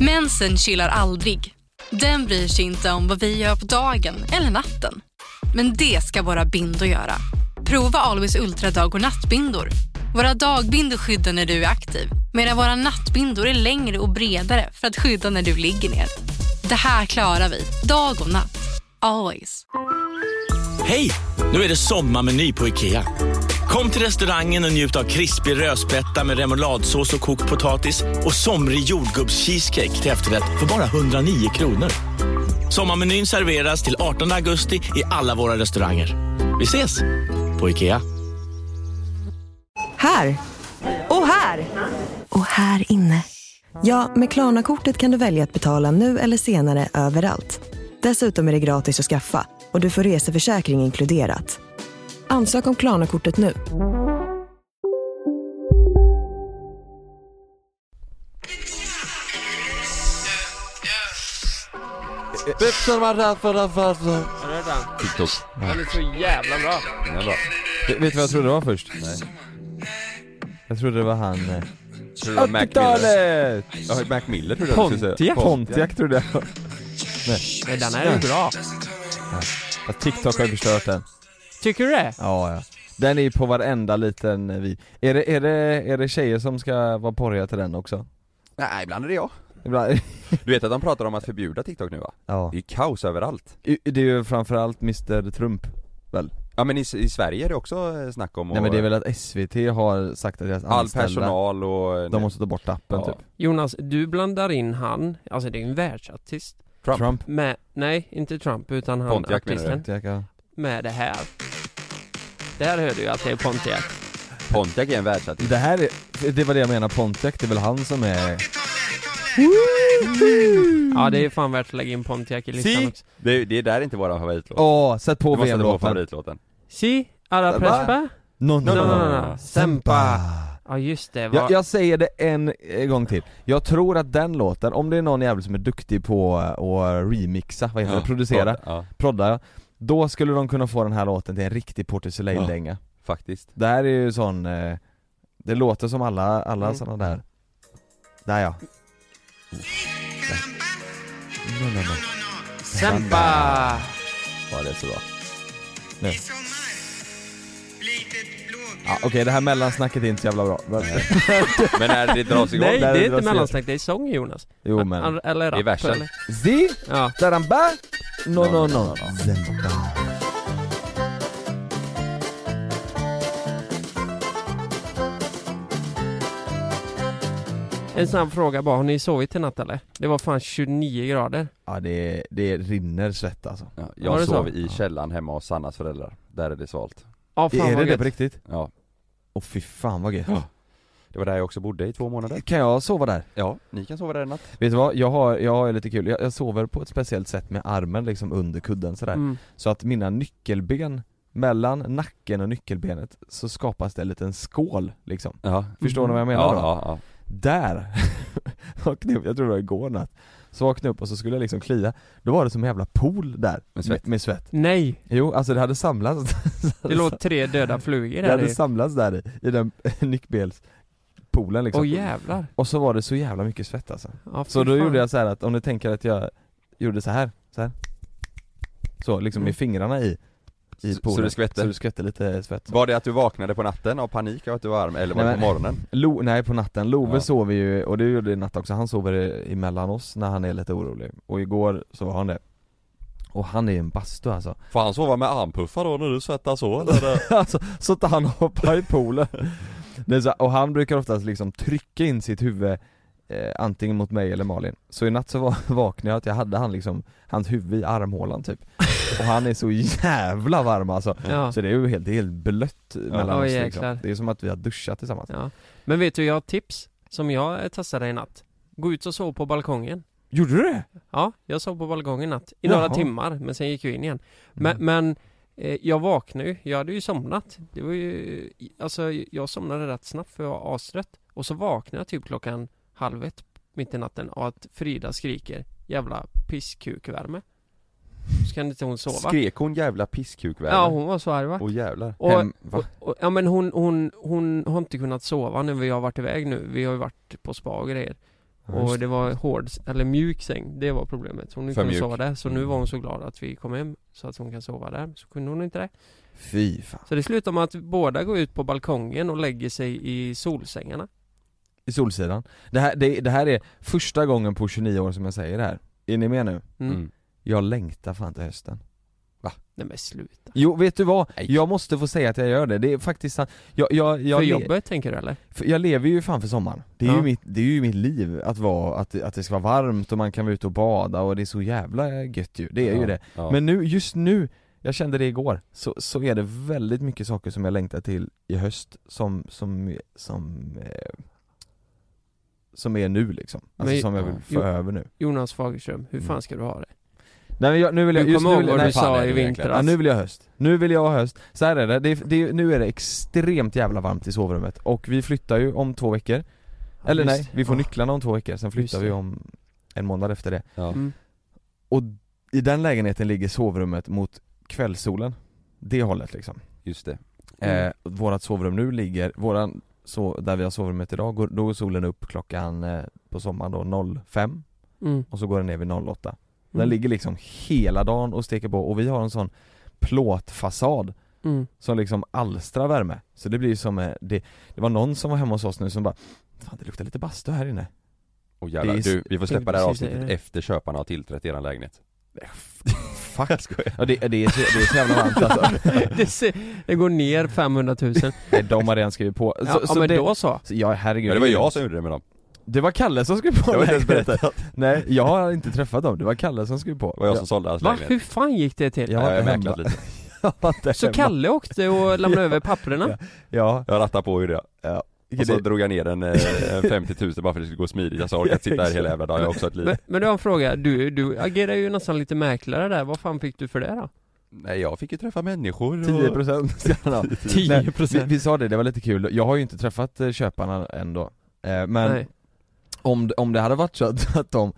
Mensen chillar aldrig. Den bryr sig inte om vad vi gör på dagen eller natten. Men det ska våra bindor göra. Prova Always Ultra dag och nattbindor. Våra dagbindor skyddar när du är aktiv medan våra nattbindor är längre och bredare för att skydda när du ligger ner. Det här klarar vi, dag och natt. Always. Hej! Nu är det sommarmeny på IKEA. Kom till restaurangen och njut av krispig rödspätta med remouladsås och kokt potatis och somrig jordgubbscheesecake till efterrätt för bara 109 kronor. Sommarmenyn serveras till 18 augusti i alla våra restauranger. Vi ses! På IKEA. Här! Och här! Och här inne. Ja, med Klarna-kortet kan du välja att betala nu eller senare överallt. Dessutom är det gratis att skaffa och du får reseförsäkring inkluderat. Ansök om Klarna-kortet nu. Vipsen var rädd för den farsan. Har du hört den? TikTok. Den är så jävla bra. Den är bra. Vet du vad jag trodde det var först? Nej. Jag trodde det var han... eh, Tror du det var Mac Miller? 80-talet! Ja, Mac Miller trodde jag du skulle Pontiac? säga. Pontiac trodde jag. Men den här är bra. Att TikTok har förstört den. Tycker du det? Ja, ja. Den är ju på varenda liten eh, vi. Är det, är det, är det tjejer som ska vara porriga till den också? Nej, ibland är det jag. Ibland, Du vet att de pratar om att förbjuda TikTok nu va? ja. Det är ju kaos överallt. Det är ju framförallt Mr Trump. Ja men i, i Sverige är det också eh, snack om Nej men det är väl att SVT har sagt att deras all anställda, personal och... eh, de måste ta bort appen Ja. typ. Jonas, du blandar in han, alltså det är ju en världsartist. Trump. Med, nej, inte Trump utan han Pontiac menar artisten. Pontiac, ja. Med det här. Det här hör du ju att det är Pontiac. Pontiac är en världsartist. Det här är, det var det jag menar, Pontiac, det är väl han som är... Ja, det är fan värt att lägga in Pontiac i listan Si! också. Det, är- det är där inte våra favoritlåt. Åh, sätt på du måste sätta på VM-låten. favoritlåten. Si, alla Va? prespa. No, no, No, no, no, no, no. no, no. Sempa. Ja, just det. Va? Jag, jag säger det en eh, gång till. Jag tror att den låten, om det är någon jävel som är duktig på eh, att remixa, vad heter det, producera, Ja, prodda, ja. då skulle de kunna få den här låten till en riktig Porter Ja. Soleil-dänga. faktiskt. Det här är ju sån, eh, det låter som alla, alla Mm. såna där. Där ja. No, no, no. Sempa! Ja, det är så bra. Ja, Okej, det här mellansnacket är inte så jävla bra. Men- Men när det dras igång, Nej, det där är det inte dras ner. mellansnack, det är sång Jonas. Jo An- men. Eller Det är rap. versen. eller? Zi, Ja. daramba, no no no. En snabb fråga bara, har ni sovit i natt eller? Det var fan 29 grader. Ja det, det rinner svett alltså. ja, Var jag det så? sov i källaren hemma hos Sannas föräldrar. Där är det svalt. Ja, fan är vad det det gött. på riktigt? Ja. Åh fy fan vad gött. Det var där jag också bodde i två månader. Kan jag sova där? Ja, ni kan sova där i natt. Vet du vad, jag har, jag har ju lite kul. Jag, jag sover på ett speciellt sätt med armen liksom under kudden sådär. Mm. Så att mina nyckelben, mellan nacken och nyckelbenet, så skapas det en liten skål liksom. Ja. Förstår Mhm. ni vad jag menar ja, då? ja, ja. Där! vaknade jag upp, jag tror det var igår natt. Så vaknade jag upp och så skulle jag liksom klia, då var det som en jävla pool där Med svett. Med, med svett. Nej, Jo, alltså det hade samlats, det låg tre döda flugor det där hade i. samlats där i, i den nyckelpoolen liksom. Åh jävlar. Och så var det så jävla mycket svett alltså. Ja, Så fy då fan. gjorde jag så här att om du tänker att jag gjorde så här, så här. Så liksom Mm. med fingrarna i, i Så- poolen. så det skvätter? Så det skvätte lite svett. Var det att du vaknade på natten av panik av att du var arm, eller var Nej, det på morgonen? Lo, nej på natten, Love Ja. sover ju, och det gjorde i natt också, han sover eh, emellan oss när han är lite orolig Och igår så var han det Och han är en bastu alltså Får han sova med armpuffar då när du svettas så eller? Alltså, så att han hoppar i poolen det är så, Och han brukar oftast liksom trycka in sitt huvud eh, Antingen mot mig eller Malin Så i natt så va- vaknade jag att jag hade han liksom, hans huvud i armhålan typ Och han är så jävla varm alltså Ja. Så det är ju helt, det är helt blött mellan Oj, oss liksom. jäklar. Det är som att vi har duschat tillsammans Ja. Men vet du, jag har ett tips som jag eh, testade i natt. Gå ut och sov på balkongen. Gjorde du det? Ja, jag sov på balkongen i natt. I Jaha. Mm. några timmar, men sen gick vi in igen. Men, men eh, jag vaknade ju, jag hade ju somnat. Det var ju, alltså jag somnade rätt snabbt för jag var astrött. Och så vaknade jag typ klockan halv ett, mitt i natten, av att Frida skriker jävla pisskukvärme. Så kan inte hon sova. Skrek hon jävla pisskukväder? ja, hon var så arg va? Åh jävlar. Och, Hem- va? och, och, ja men hon, hon, hon har inte kunnat sova när vi har varit iväg nu. Vi har ju varit på spa och grejer. Och det var hård, eller mjuk säng, det var problemet. Så hon inte För kunde mjuk. sova där. Så nu Mm. var hon så glad att vi kom hem så att hon kan sova där. Så kunde hon inte det. Fy fan. Så det slutar med att båda går ut på balkongen och lägger sig i solsängarna. I Solsidan. Det här, det, det här är första gången på 29 år som jag säger det här. Är ni med nu? Mm. Mm. Jag längtar fan till hösten. Nej men sluta. Jo, vet du vad? Nej. Jag måste få säga att jag gör det. Det är faktiskt sant. Jag, jag, jag, För le- jobbet tänker du eller? för jag lever ju fan för sommaren. Det är, ju, Ja. mitt, det är ju mitt liv att, vara, att, att det ska vara varmt och man kan vara ute och bada och det är så jävla gött ju. Det är ju Ja, det. ja. Men nu, just nu, jag kände det igår, så, så är det väldigt mycket saker som jag längtar till i höst som, som, som eh, som är nu liksom, alltså Men- som jag vill ja. få Jo. över nu Jonas Fagerström, Mm. hur fan ska du ha det? Nej men jag, nu vill jag, Du just kommer nu, ihåg vill- vad nej, du fan, sa är i det vintras? ja, nu vill jag ha höst, nu vill jag ha höst, så här är det, det, är- det är- nu är det extremt jävla varmt i sovrummet och vi flyttar ju om två veckor, Ja, eller just nej, det. vi får Ja. nycklarna om två veckor, sen Just flyttar det. vi om en månad efter det Ja. Mm. Och i den lägenheten ligger sovrummet mot kvällssolen, det hållet liksom Just det. Mm. Eh, vårat sovrum nu ligger, våran, så, där vi har sovrummet idag, går, då går solen upp klockan eh, på sommaren då 05 Mm. och så går den ner vid 08 Den Mm. ligger liksom hela dagen och steker på och vi har en sån plåtfasad Mm. som liksom alstrar värme Så det blir ju som, eh, det, det var någon som var hemma hos oss nu som bara Fan det luktar lite bastu här inne Och jävlar, Det är- du, vi får släppa det här Precis, det är avsnittet det. efter köparna har tillträtt eran lägenhet. Fuck ja, det, det, är så, det är så jävla varmt alltså det, ser, det går ner 500 000. Nej, De har redan skrivit på Ja, så, ja så men det, då så. så, ja herregud Ja, det var jag som gjorde det med dem. Det var Kalle som skrev på Jag var inte ens lägenheten. berättad. Nej, jag har inte träffat dem, det var Kalle som skrev på Det var jag som sålde hans Va? lägenhet. Hur fan gick det till? Jag Jag var har inte mäklat hemma lite. Jag var inte Så hemma. Kalle åkte och lämnade över papperna? Ja, Jag rattade på och gjorde det. Och så det- drog jag ner den eh, 50 000 bara för att det skulle gå smidigt. Jag sa orkar inte sitta här hela jävla dagen, jag har också ett liv. Men, men du har en fråga, du, du agerar ju nästan lite mäklare där, vad fan fick du för det då? Nej jag fick ju träffa människor och... 10% ska han ha. Nej, vi, vi sa det, det var lite kul. Jag har ju inte träffat eh, köparna ändå. Eh, Men Nej. om, det- om det hade varit så att, att de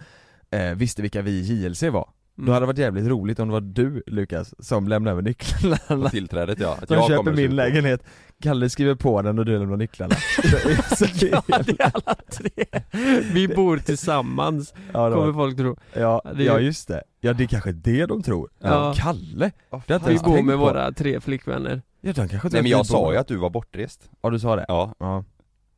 eh, visste vilka vi i JLC var, då hade det varit jävligt roligt om det var du Lukas som lämnade över nycklarna. På tillträdet ja. Att De jag kommer köper och min slår på. lägenhet, Kalle skriver på den och du lämnar nycklarna. Så- så det- Ja, det är alla tre. Vi bor tillsammans, ja, det kommer var- folk tro. ja, det är ju- ja just det. Ja det är kanske det de tror. Ja. Kalle? Det har inte Vi ens bor tänkt med på. våra tre flickvänner. Ja, de kanske tror Nej att men vi jag bor- sa ju att du var bortrest. Ja du sa det? Ja. Ja.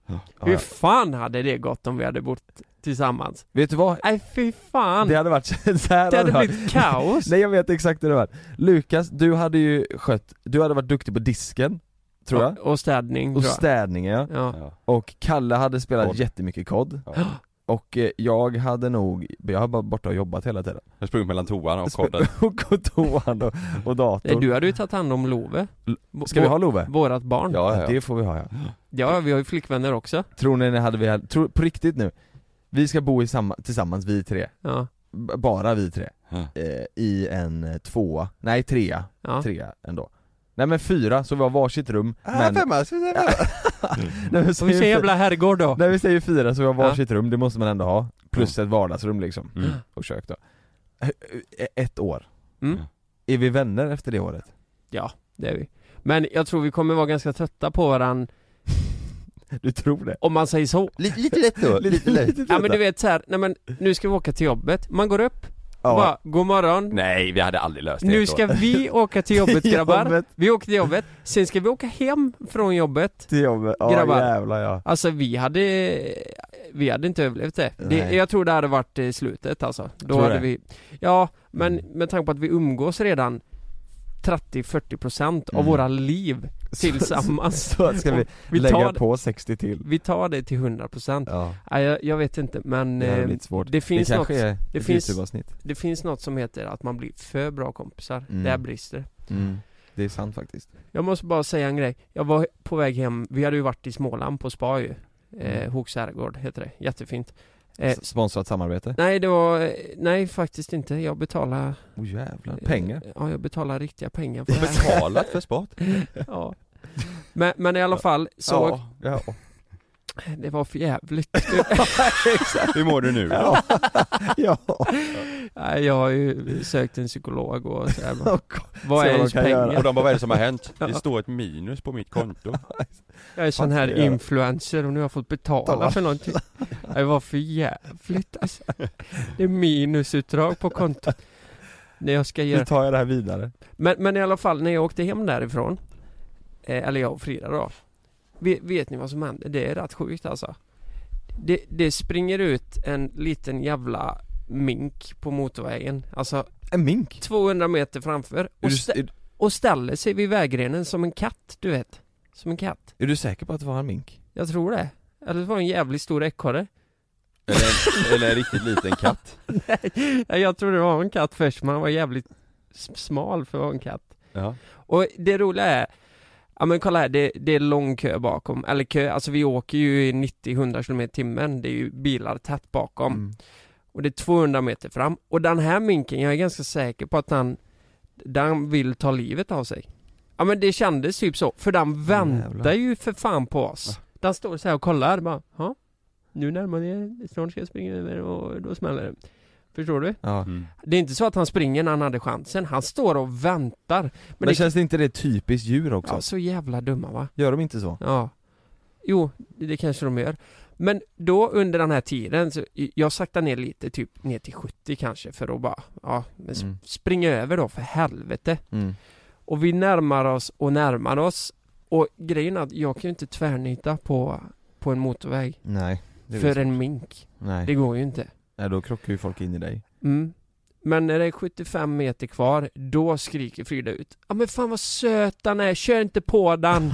Ja. Hur ja. fan hade det gått om vi hade bott tillsammans? Vet du vad? Nej fy fan! Det Det, hade varit så här hade varit. blivit kaos! Nej jag vet exakt hur det var. Lukas, du hade ju skött, du hade varit duktig på disken, tror jag. Och, och städning Och tror jag. städningen ja. ja. Ja. Och Kalle hade spelat Kod. jättemycket kod. Ja. Och eh, jag hade nog, jag har bara borta och jobbat hela tiden. Jag sprang mellan toan och kodden. och och toan och, och Nej, datorn. du hade ju tagit hand om Love. B- Ska vi ha Love? Vårat barn. Ja. Ja, ja, ja. Det får vi ha ja. vi har ju flickvänner också. Tror ni ni hade vi, hade- tror, på riktigt nu, vi ska bo i samma, tillsammans vi tre, Ja. B- bara vi tre, Ja. eh, i en eh, tvåa, nej trea ja. trea ändå Nej men fyra, så vi har varsitt rum Ah, men... femma, Nej, men Om säger vi säger fy- jävla herrgård då. Nej vi säger fyra så vi har varsitt rum, det måste man ändå ha Plus ett vardagsrum liksom, Mm. och kök då E- Ett år Mm. Är vi vänner efter det året? Ja, det är vi. Men jag tror vi kommer vara ganska trötta på varann Du tror det? om man säger så. Lite, lite lätt då, lite lätt. Ja men du vet såhär, nej men nu ska vi åka till jobbet. Man går upp, Ja. bara god morgon. Nej, vi hade aldrig löst det Nu ett år. ska vi åka till jobbet grabbar. Jobbet Vi åker till jobbet, sen ska vi åka hem från jobbet. till jobbet, ja Grabbar. jävlar ja Alltså vi hade, vi hade inte överlevt det. det Nej. jag tror det hade varit eh, slutet alltså. Då Tror hade det? Mm. vi, ja men med tanke på att vi umgås redan 30-40% av Mm. våra liv tillsammans. Så ska vi, Vi lägga tar, på 60 till vi tar det till 100%. Ja, Nej, jag, jag vet inte men det här eh, blir lite svårt det finns det något, kanske är det ett finns- YouTube-avsnitt det finns något som heter att man blir för bra kompisar. Mm. Där brister det. mm. Det är sant faktiskt Jag måste bara säga en grej. Jag var på väg hem, vi hade ju varit i Småland på spa ju. Eh, Mm. Alltså, Hooks herrgård heter det, jättefint. Eh, S- Sponsrat samarbete? nej det var, eh, nej faktiskt inte. Jag betalade... Åh Oh, jävlar, pengar? Ja, jag betalade riktiga pengar för Vi det har här. betalat för spat. ja. men, men i alla fall så ja. Det var för jävligt. Exakt. Hur mår du nu? Ja. ja. Nej, jag har ju sökt en psykolog och så här, bara, Vad Se är vad ens de kan göra. pengar? Och de bara, vad är det som har hänt? Det står ett minus på mitt konto. Jag är sån Vad här ska jag göra? influencer och nu har jag fått betala Betala. för någonting. Det var för jävligt alltså. Det är minusutdrag på kontot. När jag ska Nu göra. tar jag det här vidare. Men, men i alla fall när jag åkte hem därifrån, eh, eller jag och Frida då. Vet, vet ni vad som hände? Det är rätt sjukt alltså. Det, det springer ut en liten jävla mink på motorvägen. Alltså En mink? 200 meter framför. Är Och, du, stä- är, och ställer sig vid vägrenen som en katt, du vet. Som en katt. är du säker på att det var en mink? Jag tror det. Eller det var en jävligt stor ekorre. Eller en, eller en riktigt liten katt. Nej, jag tror det var en katt först, men han var jävligt s- smal för att vara en katt. Ja. Och det roliga är, ja men kolla här, det, det är lång kö bakom, eller kö, alltså vi åker ju i 90-100 km i timmen, det är ju bilar tätt bakom. Mm. Och det är 200 meter fram. Och den här minken, jag är ganska säker på att han, den vill ta livet av sig. Ja men det kändes typ så, för den väntar Jävlar. ju för fan på oss. Den står så här och kollar bara, ja, nu närmar ni er, snart ska jag springa över och då smäller det. Förstår du? Ja. Mm. Det är inte så att han springer när han hade chansen, han står och väntar. Men, Men det känns det inte det typiskt djur också? ja, så jävla dumma va? Gör de inte så? Ja. Jo, det kanske de gör. Men då under den här tiden, så jag saktade ner lite, typ ner till 70 kanske för att bara, ja, men sp- Mm. springa över då för helvete. Mm. Och vi närmar oss och närmar oss. Och grejen är att jag kan ju inte tvärnita på, på en motorväg Nej. Det för är en mink. Nej. Det går ju inte. Nej, då krockar ju folk in i dig. Mm. Men när det är 75 meter kvar, då skriker Frida ut Ja men fan vad söt han är, kör inte på den!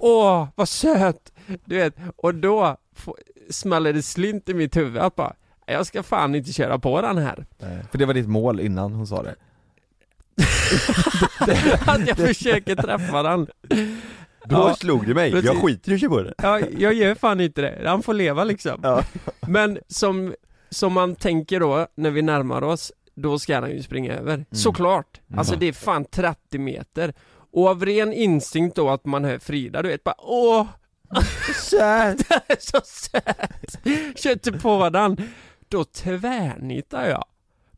Åh, vad söt! Du vet, och då få- smäller det slint i mitt huvud att bara Jag ska fan inte köra på den här! För det var ditt mål innan hon sa det. att jag försöker träffa den! Då Ja. slog det mig, jag Precis. skiter i att köra på det. Ja, jag gör fan inte det, han får leva liksom Ja. Men som, som man tänker då, när vi närmar oss Då ska han ju springa över, såklart! Alltså det är fan 30 meter Och av ren instinkt då att man hör Frida, du vet bara åh! Söt! Äh, det är så söt! Kör inte på den! Då tvärnitar jag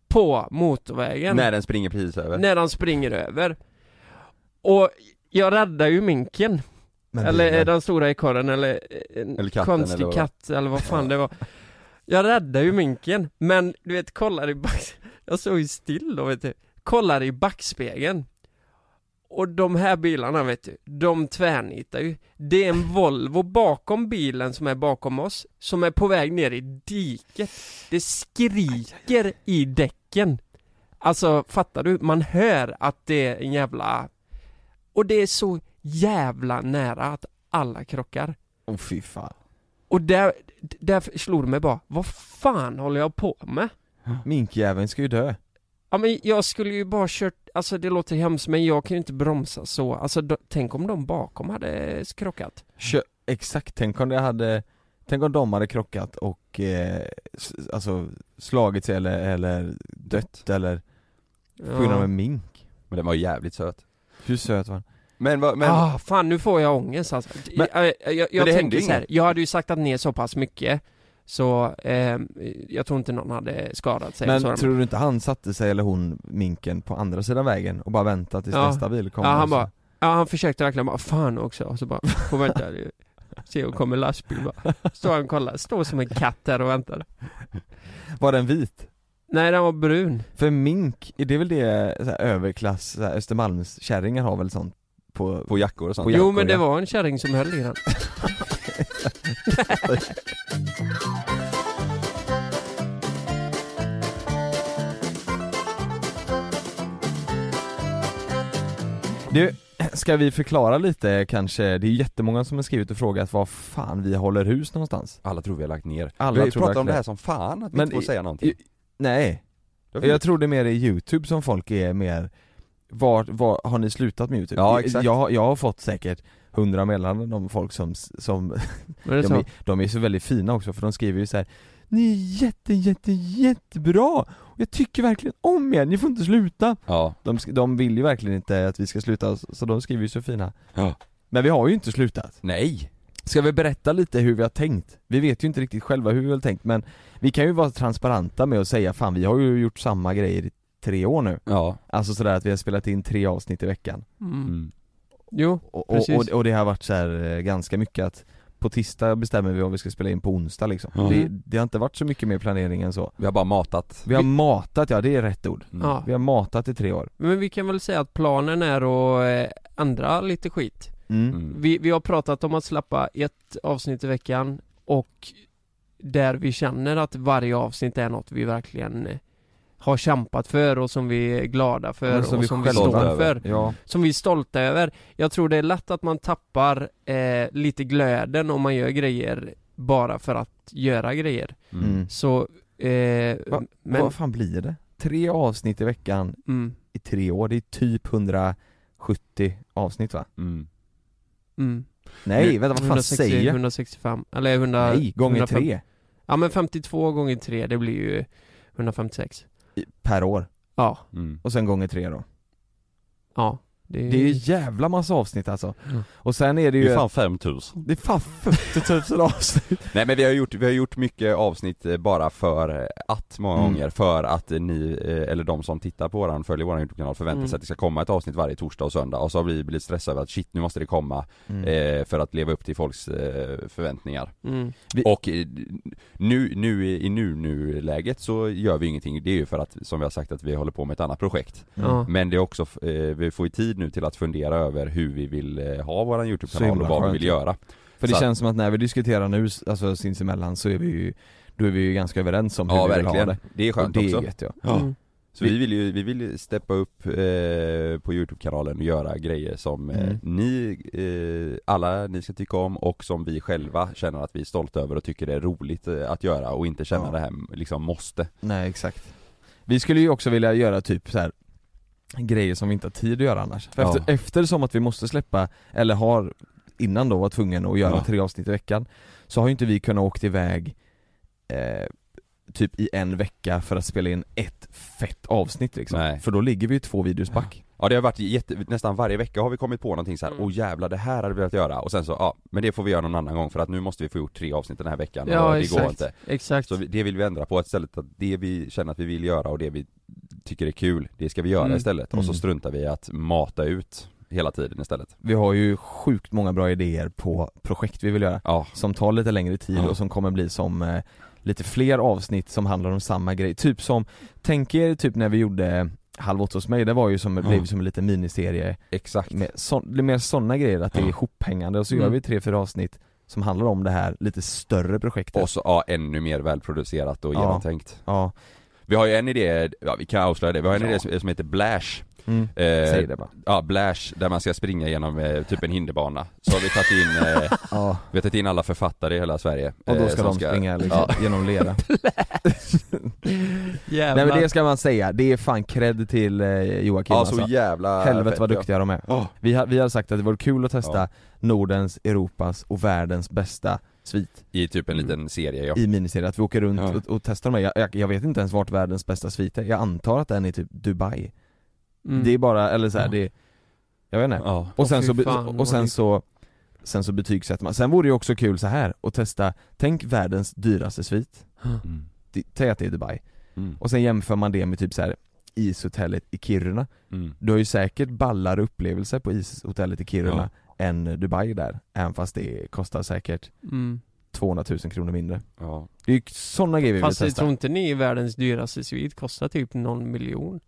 på motorvägen När den springer precis över. när han springer över Och jag räddar ju minken Men eller bilen- den stora ekorren eller eh, en Eller katten, konstig eller vad? katt eller vad fan det var Jag räddade ju minken, men du vet kollar i back... Jag såg ju still då vet du Kollar i backspegeln Och de här bilarna vet du, de tvärnitar ju Det är en Volvo bakom bilen som är bakom oss Som är på väg ner i diket Det skriker i däcken Alltså fattar du? Man hör att det är en jävla Och det är så jävla nära att alla krockar Åh fy fan. Och där, där slog det mig bara, vad fan håller jag på med? Minkjäveln ska ju dö. Ja men jag skulle ju bara kört, alltså det låter hemskt men jag kan ju inte bromsa så, alltså då, tänk om de bakom hade krockat? Kö- Exakt, tänk om det hade Tänk om de hade krockat och eh, s- alltså slagit sig eller, eller dött eller på grund av Ja. en mink Men den var jävligt söt. Hur söt var den? Men, vad- men ah, fan nu får jag ångest alltså. Men- jag jag, jag, det hände tänker så här, inget. jag hade ju saktat ner så pass mycket så eh, jag tror inte någon hade skadat sig Men så tror du inte han satte sig eller hon, minken, på andra sidan vägen och bara väntade tills Ja. nästa bil kom? Ja, han och så- bara- Ja han försökte verkligen bara, fan också, och så bara, får vänta Se och kommer lastbil bara. Står han och kollar, står som en katt där och väntar Var den vit? Nej den var brun För mink, är det är väl det så här, överklass, så här, Östermalmskärringar har väl sånt på, på jackor och sånt. På Jo jackor, men det ja. var en kärring som höll i den Du, ska vi förklara lite kanske, det är ju jättemånga som har skrivit och frågat var fan vi håller hus någonstans? Alla tror vi har lagt ner. Alla vi tror pratar verkligen- om det här som fan, att vi Men inte får i- säga någonting. i- Nej, Jag tror det är mer i youtube som folk är mer var, var har ni slutat med youtube? Ja, exakt. Jag, jag har fått säkert hundra meddelanden om folk som, som Var det de, så? är, de är så väldigt fina också för de skriver ju så här. Ni är jätte, jätte, jättebra! Och jag tycker verkligen om er, ni får inte sluta! ja. De, sk- de vill ju verkligen inte att vi ska sluta, så så de skriver ju så fina Ja. Men vi har ju inte slutat Nej! Ska vi berätta lite hur vi har tänkt? Vi vet ju inte riktigt själva hur vi har tänkt men vi kan ju vara transparenta med att säga fan vi har ju gjort samma grejer i tre år nu. Ja. Alltså sådär att vi har spelat in tre avsnitt i veckan. Mm. Mm. Jo, Och, och, Precis. och, och det har varit så här eh, ganska mycket att på tisdag bestämmer vi vad vi ska spela in på onsdag liksom. Ja. Det, det har inte varit så mycket mer planering än så. Vi har bara matat. Vi har matat, ja det är rätt ord. Mm. ja. Vi har matat i tre år. Men vi kan väl säga att planen är att eh, ändra lite skit. Mm. Mm. Vi, vi har pratat om att släppa ett avsnitt i veckan och där vi känner att varje avsnitt är något vi verkligen eh, har kämpat för och som vi är glada för Men som och vi som vi själva står över. för. Ja. Som vi är stolta över. Jag tror det är lätt att man tappar eh, lite glöden om man gör grejer bara för att göra grejer. Mm. Så, eh, Va- Men... men, Vad fan blir det? Tre avsnitt i veckan mm, i tre år, det är typ 170 avsnitt va? Mm. mm. Nej, vänta vad fan 160, säger jag? 165, eller 100, Nej, gånger 150. tre Ja men 52 gånger 3 det blir ju 156 i- per år, Ja, Mm. och sen gånger tre då ja Det är, Det är ju jävla massa avsnitt alltså Mm. Ja. Och sen är det ju Det är fan 5000 det är fan 40 000 avsnitt Nej men vi har gjort, vi har gjort mycket avsnitt eh, bara för eh, att, många Mm. gånger, för att eh, ni, eh, eller de som tittar på våran, följer våran YouTube-kanal förväntar Mm. sig att det ska komma ett avsnitt varje torsdag och söndag och så har vi blivit stressade över att shit nu måste det komma mm. eh, för att leva upp till folks eh, förväntningar. mm, Och eh, nu, nu i i nu, nu läget så gör vi ingenting, det är ju för att, som vi har sagt att vi håller på med ett annat projekt. ja. Men det är också, f- eh, vi får ju tid nu till att fundera över hur vi vill eh, ha våran Så YouTube-kanal himla och vad vi skönt. vill göra. För det så- känns som att när vi diskuterar nu, alltså sinsemellan så är vi ju Då är vi ju ganska överens om hur Ja vi vill ha verkligen, det det är Och skönt det också. är gött ja Ja. Mm. Så vi vill ju, vi vill ju steppa upp eh, på Youtube-kanalen och göra grejer som eh, Mm. ni, eh, alla ni ska tycka om och som vi själva känner att vi är stolta över och tycker det är roligt eh, att göra och inte känna Ja. det här liksom måste. Nej exakt Vi skulle ju också vilja göra typ så här grejer som vi inte har tid att göra annars. För Ja. efter, eftersom att vi måste släppa, eller har innan då var tvungen att göra Ja. tre avsnitt i veckan Så har ju inte vi kunnat åkt iväg eh, typ i en vecka för att spela in ett fett avsnitt liksom. Nej. För då ligger vi ju två videos back. Ja det har varit jätte, nästan varje vecka har vi kommit på någonting så här, Mm. åh jävlar det här hade vi velat göra och sen så, ja men det får vi göra någon annan gång för att nu måste vi få gjort tre avsnitt den här veckan och ja det går exakt, inte. exakt Så vi, det vill vi ändra på istället, att det vi känner att vi vill göra och det vi tycker är kul, det ska vi göra Mm. istället och så Mm. struntar vi i att mata ut hela tiden istället. Vi har ju sjukt många bra idéer på projekt vi vill göra Ja, som tar lite längre tid Ja. och som kommer bli som eh, lite fler avsnitt som handlar om samma grej. Typ som, tänk er typ när vi gjorde Halv åtta hos mig, det var ju som, Ja. blev som en liten miniserie exakt. med så, det är mer sådana grejer, att det är Ja. ihophängande och så Mm. gör vi tre, fyra avsnitt som handlar om det här lite större projektet. Och så, ja, ännu mer välproducerat och Ja. genomtänkt. Ja, Vi har ju en idé, ja, vi kan avslöja det, vi har en Ja. idé som, som heter Blash. mm. säg Eh, det bara. ja, Blash, där man ska springa genom eh, typ en hinderbana. Så har vi tagit in, eh, Ja. vi har tagit in alla författare i hela Sverige. Och då eh, ska som de springa liksom, genom lera. Jävlar Nej men det ska man säga, det är fan cred till eh, Joakim Ja, så alltså. jävla Helvete fett, vad ja. duktiga de är. Ja. Vi har, vi har sagt att det vore kul att testa Ja. Nordens, Europas och världens bästa svit I typ en liten serie ja. i miniserie, att vi åker runt Ja. och, och testar de här. Jag, jag, jag vet inte ens vart världens bästa svit är, jag antar att den är typ Dubai mm. Det är bara, eller så här, Ja. det jag vet inte. Ja. Och sen fy så, be- fan, och vad sen det- så, sen så betygsätter man. Sen vore det ju också kul så här att testa, tänk världens dyraste svit, Mm. Det- säg att det är Dubai, Mm. och sen jämför man det med typ så här ishotellet i Kiruna Mm. Du har ju säkert ballare upplevelser på ishotellet i Kiruna än Dubai där, även fast det kostar säkert mm. 200 000 kronor mindre. Ja. Det är ju sådana grejer vi vill Fast jag testa. tror inte ni är världens dyraste svit kostar typ någon miljon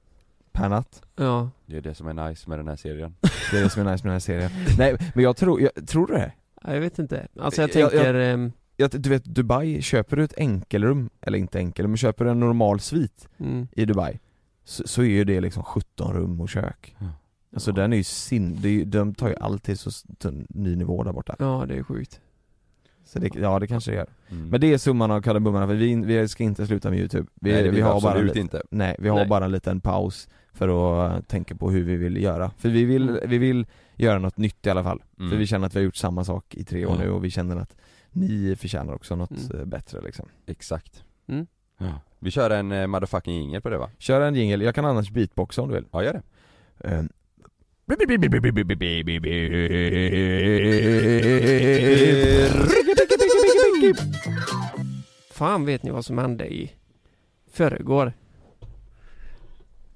Per natt. Ja, Det är det som är nice med den här serien. Det är det som är nice med den här serien. Nej, men jag tror, jag, tror du det? Ja, jag vet inte Alltså jag Jag- jag- tänker ehm, Jag, du vet Dubai, köper du ett enkelrum, eller inte enkelrum, men köper du en normal svit mm. i Dubai så, så är ju det liksom 17 rum och kök. Ja. Alltså den är ju sin, det är, ju- de tar ju alltid så s- till en ny nivå där borta. Ja det är sjukt Så det, ja det kanske det gör. Mm. Men det är summan av kardemumman för vi, vi ska inte sluta med youtube. Vi, Nej, det vi vill har bara absolut lite, inte. Nej, vi har Nej. bara en liten paus för att eh, tänka på hur vi vill göra. För vi vill, vi vill göra något nytt i alla fall. Mm. För vi känner att vi har gjort samma sak i tre år Ja. nu och vi känner att ni förtjänar också något Mm. eh, bättre liksom. Exakt. Mm. Ja. Vi kör en eh, motherfucking jingel på det va? Kör en jingle, jag kan annars beatboxa om du vill. Ja, gör det. Eh, Fan vet ni vad som hände i förrgår?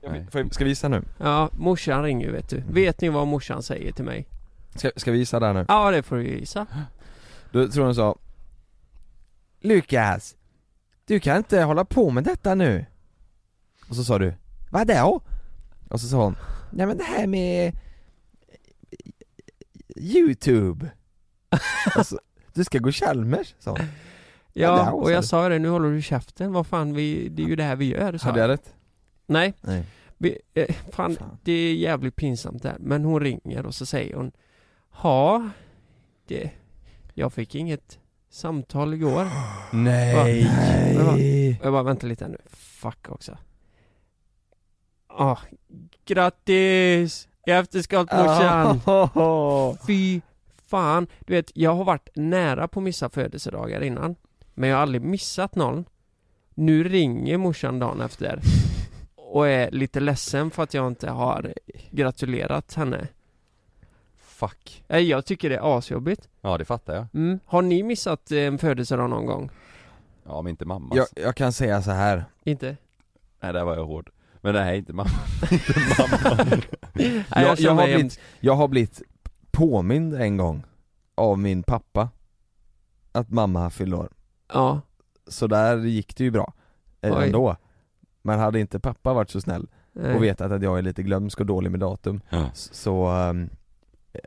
Jag vill- får jag- Ska vi gissa nu? Ja, morsan ringer ju vet du. Mm. Vet ni vad morsan säger till mig? Ska, ska vi gissa där nu? Ja, det får du gissa. Då tror jag hon sa Lukas, du kan inte hålla på med detta nu Och så sa du Vadå? Och så sa hon Nej men det här med eh, Youtube alltså, Du ska gå Chalmers, sa hon Ja, det Ja, är och jag också. sa det, nu håller du käften. Vad fan, vi, det är ju det här vi gör. Sa Hade jag. jag rätt? Nej, Nej vi, eh, fan, Fan. det är jävligt pinsamt där. Men hon ringer och så säger hon Ja, det, jag fick inget samtal igår. Nej, Men vad- Och jag bara, vänta lite här nu. Fuck också. Ah, grattis! I efterskott morsan! Fy fan! Du vet, jag har varit nära på att missa födelsedagar innan. Men jag har aldrig missat någon. Nu ringer morsan dagen efter. Och är lite ledsen för att jag inte har gratulerat henne. Fuck. Nej, Jag tycker det är asjobbigt. Ja det fattar jag. Mm. Har ni missat eh, en födelsedag någon gång? Ja men inte mammas. jag, jag kan säga så här. Inte? Nej där var jag hård. Men nej inte mamma. inte mamma. Nej, jag, jag, känner har mig- blivit, jag har blivit påmind en gång Av min pappa Att mamma fyllde år Ja. Så där gick det ju bra eh, Oj. ändå Men hade inte pappa varit så snäll Eh, och vetat att jag är lite glömsk och dålig med datum Ja. s- så ehm,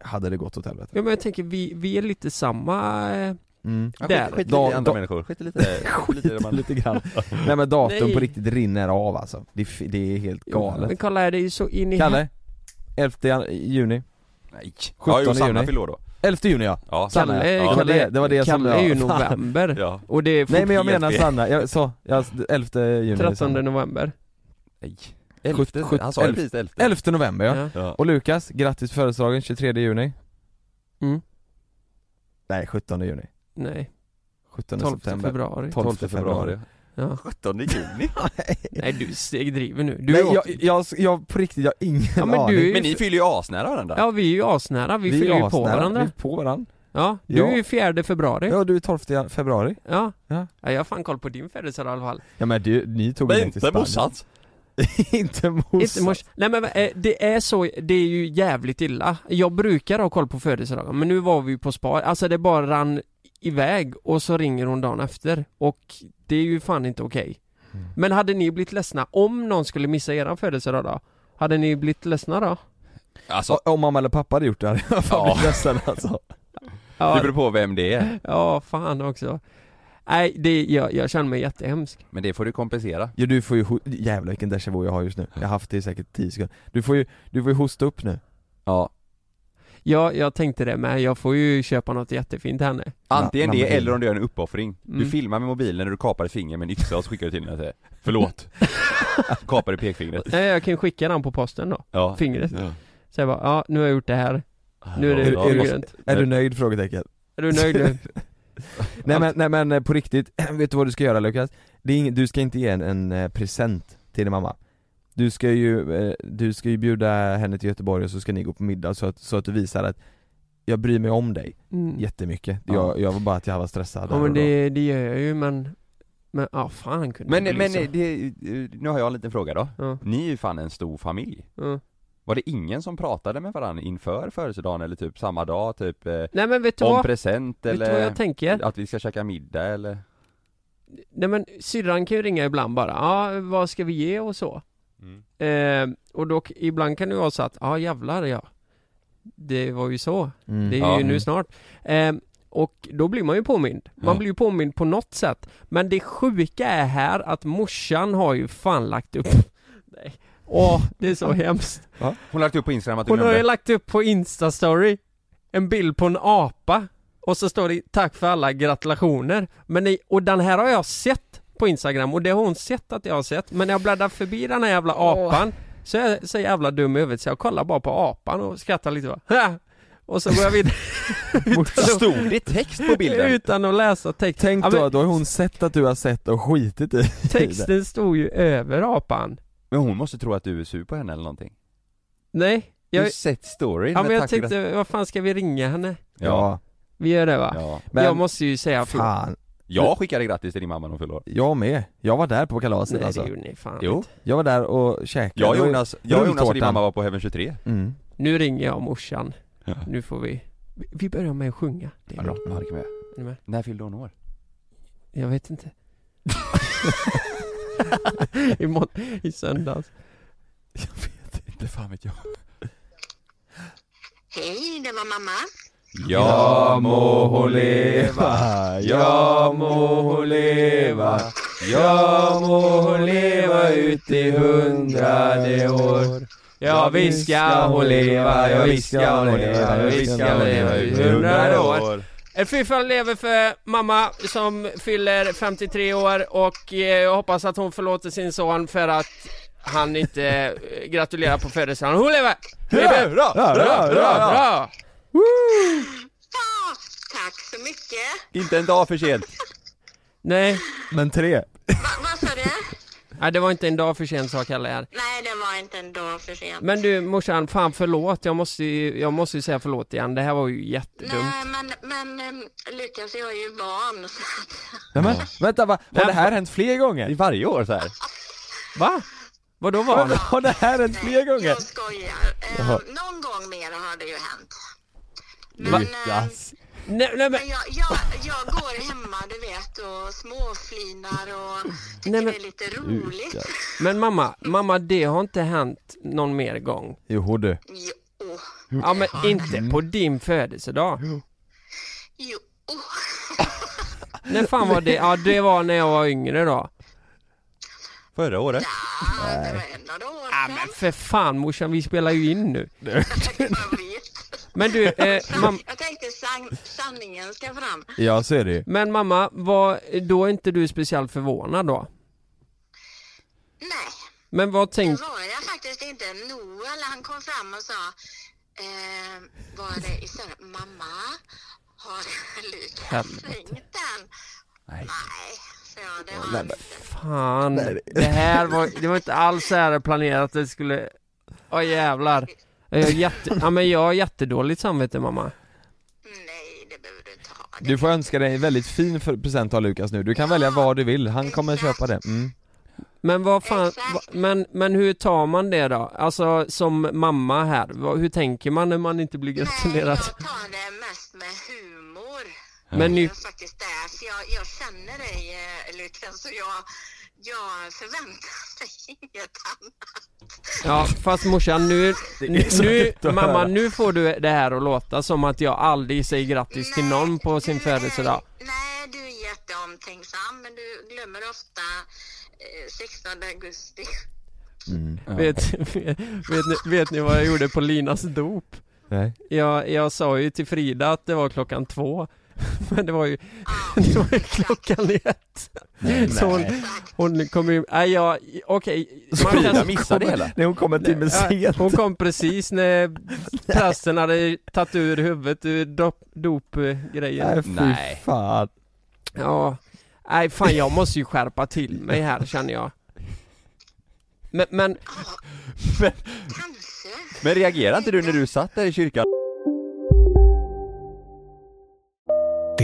hade det gått åt helvete Ja men jag tänker vi, vi är lite samma eh, mm. Ja, Där. Skit, skit lite Da- i andra da- människor. Skit i lite. skit i det man... Lite grann. Nej men datum Nej. på riktigt rinner av alltså, det är, f- det är helt galet Men kolla här, det är ju så in i Kalle? 11 jan- juni? Nej. 17 Ja jo Sanna juni. fyller år då. 11 11 juni ja! Ja. Sanna, Kalle, ja. Det var Kalle, det- det var det som Kalle jag- är ju Fan. november Ja. och det är Nej men jag helt menar fel. Sanna, jag sa, jag, 11 juni 13 november Nej. Sjut- Elfte. sjut- Han sa ju elf- precis elfte. 11 november ja. Ja. Ja. Och Lukas, grattis på födelsedagen 23 juni? Mm. Nej 17 juni, Nej, 17 12 september februari 12 februari ja. 17 juni. Nej du stegdriver nu, du Nej är åt- jag, jag, jag på riktigt, jag har ingen Ja, men aning du är ju Men ni f- fyller ju asnära varandra. Ja vi är ju asnära, vi, fyller ju på asnära. Vi varandra är på varandra Ja, du Ja. är ju fjärde februari Ja, Ja du är 12 februari ja. Ja. jag har fan koll på din födelsedag i alla fall Ja men du, ni tog Men ju ner till inte Spanien morsans. Inte Inte morsan mors- Nej men eh, det är så, det är ju jävligt illa. Jag brukar ha koll på födelsedagar men nu var vi ju på spa, alltså det bara rann iväg och så ringer hon dagen efter och det är ju fan inte okej. Mm. Men hade ni blivit ledsna om någon skulle missa eran födelsedag då? Hade ni blivit ledsna då? Alltså, så, Om mamma eller pappa hade gjort det hade jag fan Ja. blivit ledsen alltså det Ja, beror på vem det är. ja fan också. Nej, det, jag, jag känner mig jättehemsk. Men det får du kompensera. ja, du får ju, ho- jävlar vilken déjà vu jag har just nu Jag har haft det i säkert 10 sekunder Du får ju, du får ju hosta upp nu Ja. Ja, jag tänkte det med, jag får ju köpa något jättefint till henne. Antingen Na- det namn- eller om du gör en uppoffring. Mm. Du filmar med mobilen när du kapar ett finger med en yxa och så skickar du till henne och säger Förlåt. kapar du pekfingret. Nej, jag kan skicka den på posten då, Ja. fingret. Ja. Så jag bara, ja nu har jag gjort det här. Nu är det, Ja, nu är du det måste- grönt. Är du nöjd? Frågetecken Är du nöjd nu? Nej men, nej men eh, på riktigt, vet du vad du ska göra Lukas? Det är ing, du ska inte ge en, en eh, present till din mamma Du ska ju, eh, du ska ju bjuda henne till Göteborg och så ska ni gå på middag så att, så att du visar att jag bryr mig om dig Mm. jättemycket, Ja. jag, jag var bara att jag var stressad Ja där men och då. det, det gör jag ju men, men ja fan kunde Men, det bli men eh, så? det, nu har jag en liten fråga då. Ja, Ni är ju fan en stor familj. ja. Var det ingen som pratade med varandra inför födelsedagen eller typ samma dag, typ eh, Nej men vet du om vad? present Vet du vad eller jag tänker? att vi ska käka middag eller? Nej men syrran kan ju ringa ibland bara, ja vad ska vi ge och så? Eh, och då, ibland kan det ju vara så att, ja jävlar ja Det var ju så, Mm. det är Ja. ju nu snart eh, Och då blir man ju påmind, man Ja. blir ju påmind på något sätt Men det sjuka är här att morsan har ju fan lagt upp Nej, åh det är så hemskt Hon har lagt upp på Instagram att du Hon har ju glömde. lagt upp på Insta-story En bild på en apa Och så står det 'Tack för alla gratulationer' Men i, och den här har jag sett på Instagram och det har hon sett att jag har sett Men när jag bläddrar förbi den här jävla apan Så är jag så jävla dum i huvudet så jag kollar bara på apan och skrattar lite bara "Ha!" Och så går jag vidare Stod det text på bilden? utan att läsa texten Tänk Ja, då, men då har hon sett att du har sett och skitit i Texten stod ju över apan Men hon måste tro att du är sur på henne eller någonting. Nej, Jag Jag- har ju sett storyn Ja med men jag Taco Gra- tänkte, vad fan ska vi ringa henne? Ja, Ja, Vi gör det va? ja. men jag måste ju säga förlåt fan, Jag skickade grattis till din mamma när hon fyllde år jag med. Jag var där på kalaset Nej alltså. det gjorde ni fan Jo, inte. Jag var där och käkade. Det jag var och ju- Jonas, jag och Jonas och din rulltårtan. mamma var på Heaven 23 Mm. Nu ringer jag morsan, Ja. nu får vi vi- Vi börjar med att sjunga Det är bra, Mark med. Är ni med? När fyllde hon år? jag vet inte I, må- I söndags Inte fan vet jag Hej, det var mamma. Ja må hon leva, ja må hon leva Ja må hon leva ut i hundrade år Ja visst ska hon leva, ja visst ska hon leva, ja visst ska hon leva ut i hundrade år Eh, Fy fan lever för mamma som fyller 53 år och eh, jag hoppas att hon förlåter sin son för att han inte eh, gratulerar på födelsedagen. Hon lever! Lever! Bra! hurra, Bra! bra. Ja, tack så mycket. Inte en dag för sent Nej, Men tre. Va, vad sa du? nej, det var inte en dag för sent sa Kalle här. Nej, det var inte en dag för sent. Men du morsan, fan förlåt. Jag måste ju, jag måste ju säga förlåt igen. Det här var ju jättedumt. Nej, men, men um, Lukas, jag är ju barn. Så att, Nej, men, vänta, va? har Nej, det här hänt fler I gånger? varje år så här. Va? Vadå var det? Har det här hänt fler gånger? jag skojar. Eh, någon gång mer har det ju hänt. Men, eh, Nej, nej, men, men jag, jag, jag går hemma, du vet, och småflinar och tycker Nej, men- det är lite roligt. men mamma, mamma det har inte hänt någon mer gång. Jo du. Jo, oh, Ja men inte på din födelsedag. jo. oh, När fan var det? Ja det var när jag var yngre då. Förra året? Ah, det var en av de år Ja sedan. men för fan morsan, vi spelar ju in nu. Jag vet. Men du, eh, mam- Jag tänkte san- sanningen ska fram. Ja så är det ju. men mamma, var då inte du speciellt förvånad då? Nej, Men vad det tänkte... var jag faktiskt inte. Noel han kom fram och sa, eh, var det i söndag? Mamma, har Lukas Helvete. svängt den? Nej. Nej, så jag. Det har han. Fan, det här var, det var inte alls så här planerat att det skulle... Åh jävlar. Jag är jätte... Ja men jag har jättedåligt samvete mamma. Nej, det behöver du inte ha. Du får önska dig en väldigt fin för- present av Lukas nu. Du kan välja vad du vill. Han kommer köpa det. Mm. Men vad fan, va, men, men hur tar man det då? Alltså som mamma här, vad, hur tänker man när man inte blir Nej, jag gratulerad? tar det mest med humor. Men Det nu, är faktiskt därför jag, jag känner dig eh, Lukas och jag, jag förväntar mig inget annat. ja fast morsan nu, så nu, lätt att mamma höra. nu får du det här att låta som att jag aldrig säger grattis till någon på sin Nej, födelsedag. Nej, du är jätteomtänksam men du glömmer ofta eh, 16 augusti. Mm. Vet, vet, ni, vet ni vad jag gjorde på Linas dop? Nej. Jag, jag sa ju till Frida att det var klockan två Men det var ju, det var ju klockan ett Så hon, hon kom ju, nej jag, okej man kan- Frida missade hela Nej hon kommer en timme Ja, sent. Hon kom precis när prästen hade tagit ur huvudet ur dop- Nej dopgrejen fy fan. Ja, nej fan jag måste ju skärpa till mig här känner jag Men, men Kanske. Men reagerade inte du när du satt där i kyrkan? Det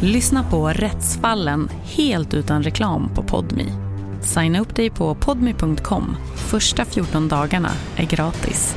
Lyssna på Rättsfallen helt utan reklam på Podmi. Signa upp dig på podmi.com. Första 14 dagarna är gratis.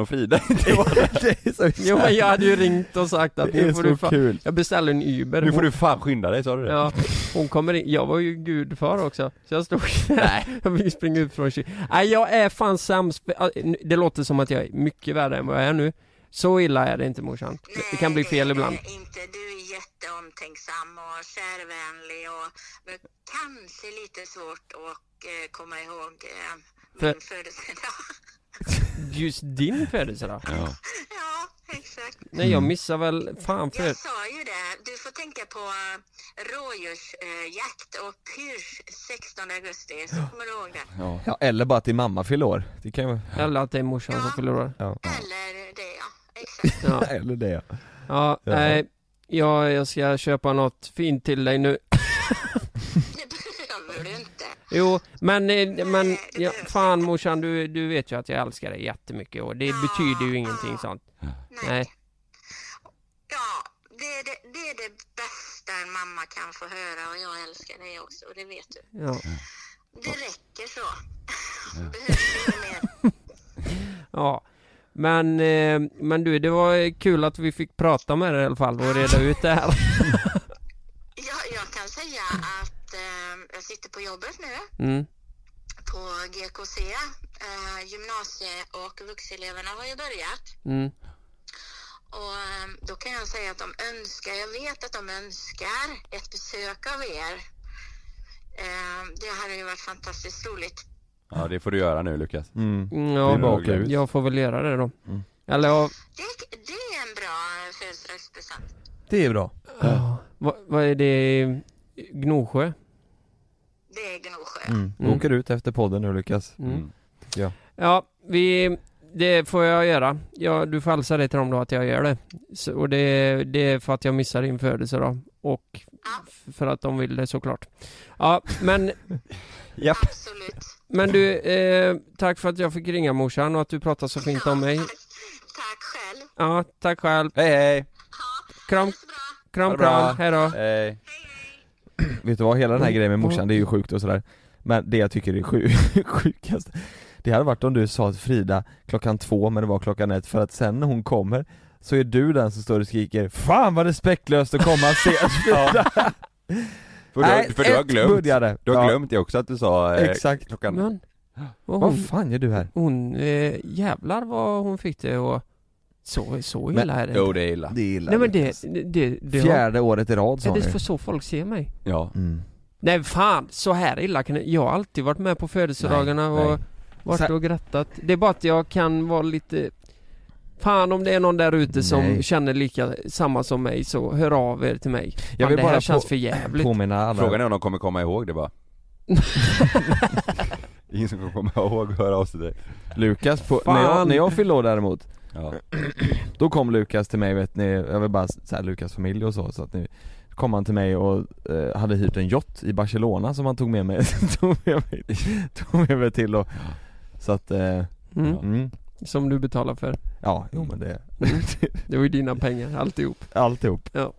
och Frida inte Jo men jag hade ju ringt och sagt att Det är nu får så du fan, kul. jag beställer en Uber Nu får Hon- du fan skynda dig, sa du det? Ja, hon kommer in, jag var ju gudfar också Så jag stod Nej. jag fick springa ut från kyl- Nej jag är fan sämst, det låter som att jag är mycket värre än vad jag är nu Så illa är det inte morsan, det kan bli fel ibland Jätteomtänksam och kärvänlig och men kanske lite svårt att eh, komma ihåg eh, För- min födelsedag. Just din födelsedag? Ja ja, exakt. Nej jag missar väl, fan för Jag sa ju det, du får tänka på eh, rådjursjakt och pyrsch 16 augusti, så kommer du ihåg det. Ja. eller bara att din mamma fyller år. Det kan ju... Eller att det är morsan som förlorar Ja. Eller det, ja. Exakt. Eller det ja. Ja, Ja. nej jag, jag ska köpa något fint till dig nu Behöver du inte. Jo, men, eh, men ja, fan morsan, du, du vet ju att jag älskar dig jättemycket och det betyder ju ingenting sånt. Nej. Det är det, det är det bästa en mamma kan få höra och jag älskar dig också och det vet du. Ja. Det räcker så. Behöver du mer? ja. Men, eh, men du, det var kul att vi fick prata med dig i alla fall och reda ut det här. Jag, jag kan säga att eh, jag sitter på jobbet nu Mm. på GKC. Eh, gymnasie och vuxeleverna har ju börjat. Mm. Och eh, då kan jag säga att de önskar, jag vet att de önskar ett besök av er. Eh, det hade ju varit fantastiskt roligt. Ja, det får du göra nu Lukas. Mm. Ja, Tillbaka ut. jag får väl göra det då. Eller ja, Det, det är en bra födelsedagspresent. Det är bra. vad, vad är det? Gnosjö? Det är Gnosjö. Mm. Mm. Åker ut efter podden nu Lukas. Mm. Tycker jag. Ja, vi, det får jag göra. Ja, du får hälsa det till dem då att jag gör det. Så, och det, det är för att jag missar din födelsedag. Och f- för att de vill det såklart. Ja, men... Japp. Absolut. Men du, eh, tack för att jag fick ringa morsan och att du pratade så fint om mig. Tack själv. Ja, tack själv. Hej hej. Kram, Ha kram, det bra. kram. Hej då. Hej. Eh, Vet du vad, hela den här grejen med morsan, det är Mm. ju sjukt och sådär Men det jag tycker är sju, sjukast Det hade varit om du sa till Frida klockan två men det var klockan ett för att sen när hon kommer Så är du den som står och skriker 'Fan vad respektlöst att komma sent Frida' För du, Nej, har- för du har ett glömt, började. du har Ja. glömt det också att du sa eh, Exakt. klockan Men, vad hon, Vad fan gör du här? hon eh, jävlar vad hon fick det och så, så Men- illa är det Jo, inte. det är illa. Det är illa, Nej men Lukas. det, det, det, det Fjärde året i rad Ja, sa det hon är för ju. så folk ser mig. Ja. Mm. Nej fan, så här illa kan det- jag har alltid varit med på födelsedagarna Nej, och nej. varit Så- och grattat. Det är bara att jag kan vara lite Fan om det är någon där ute som Nej. känner lika, samma som mig så hör av er till mig. Jag Fan, vill det bara här känns på- för jävligt. påminna alla- Frågan är om de kommer komma ihåg det bara. Ingen som kommer komma ihåg att höra av sig till dig. Lukas, på, när, jag, Fan. när jag fyllde år däremot Ja. Då kom Lukas till mig, vet ni, jag vill bara säga Lukas familj och så, så att nu kom han till mig och eh, hade hyrt en yacht i Barcelona som han tog med mig, tog med mig, tog med mig till och Så att, eh, Mm. mm, Som du betalar för. ja, jo men det, Mm. Det var ju dina pengar, alltihop. alltihop Ja.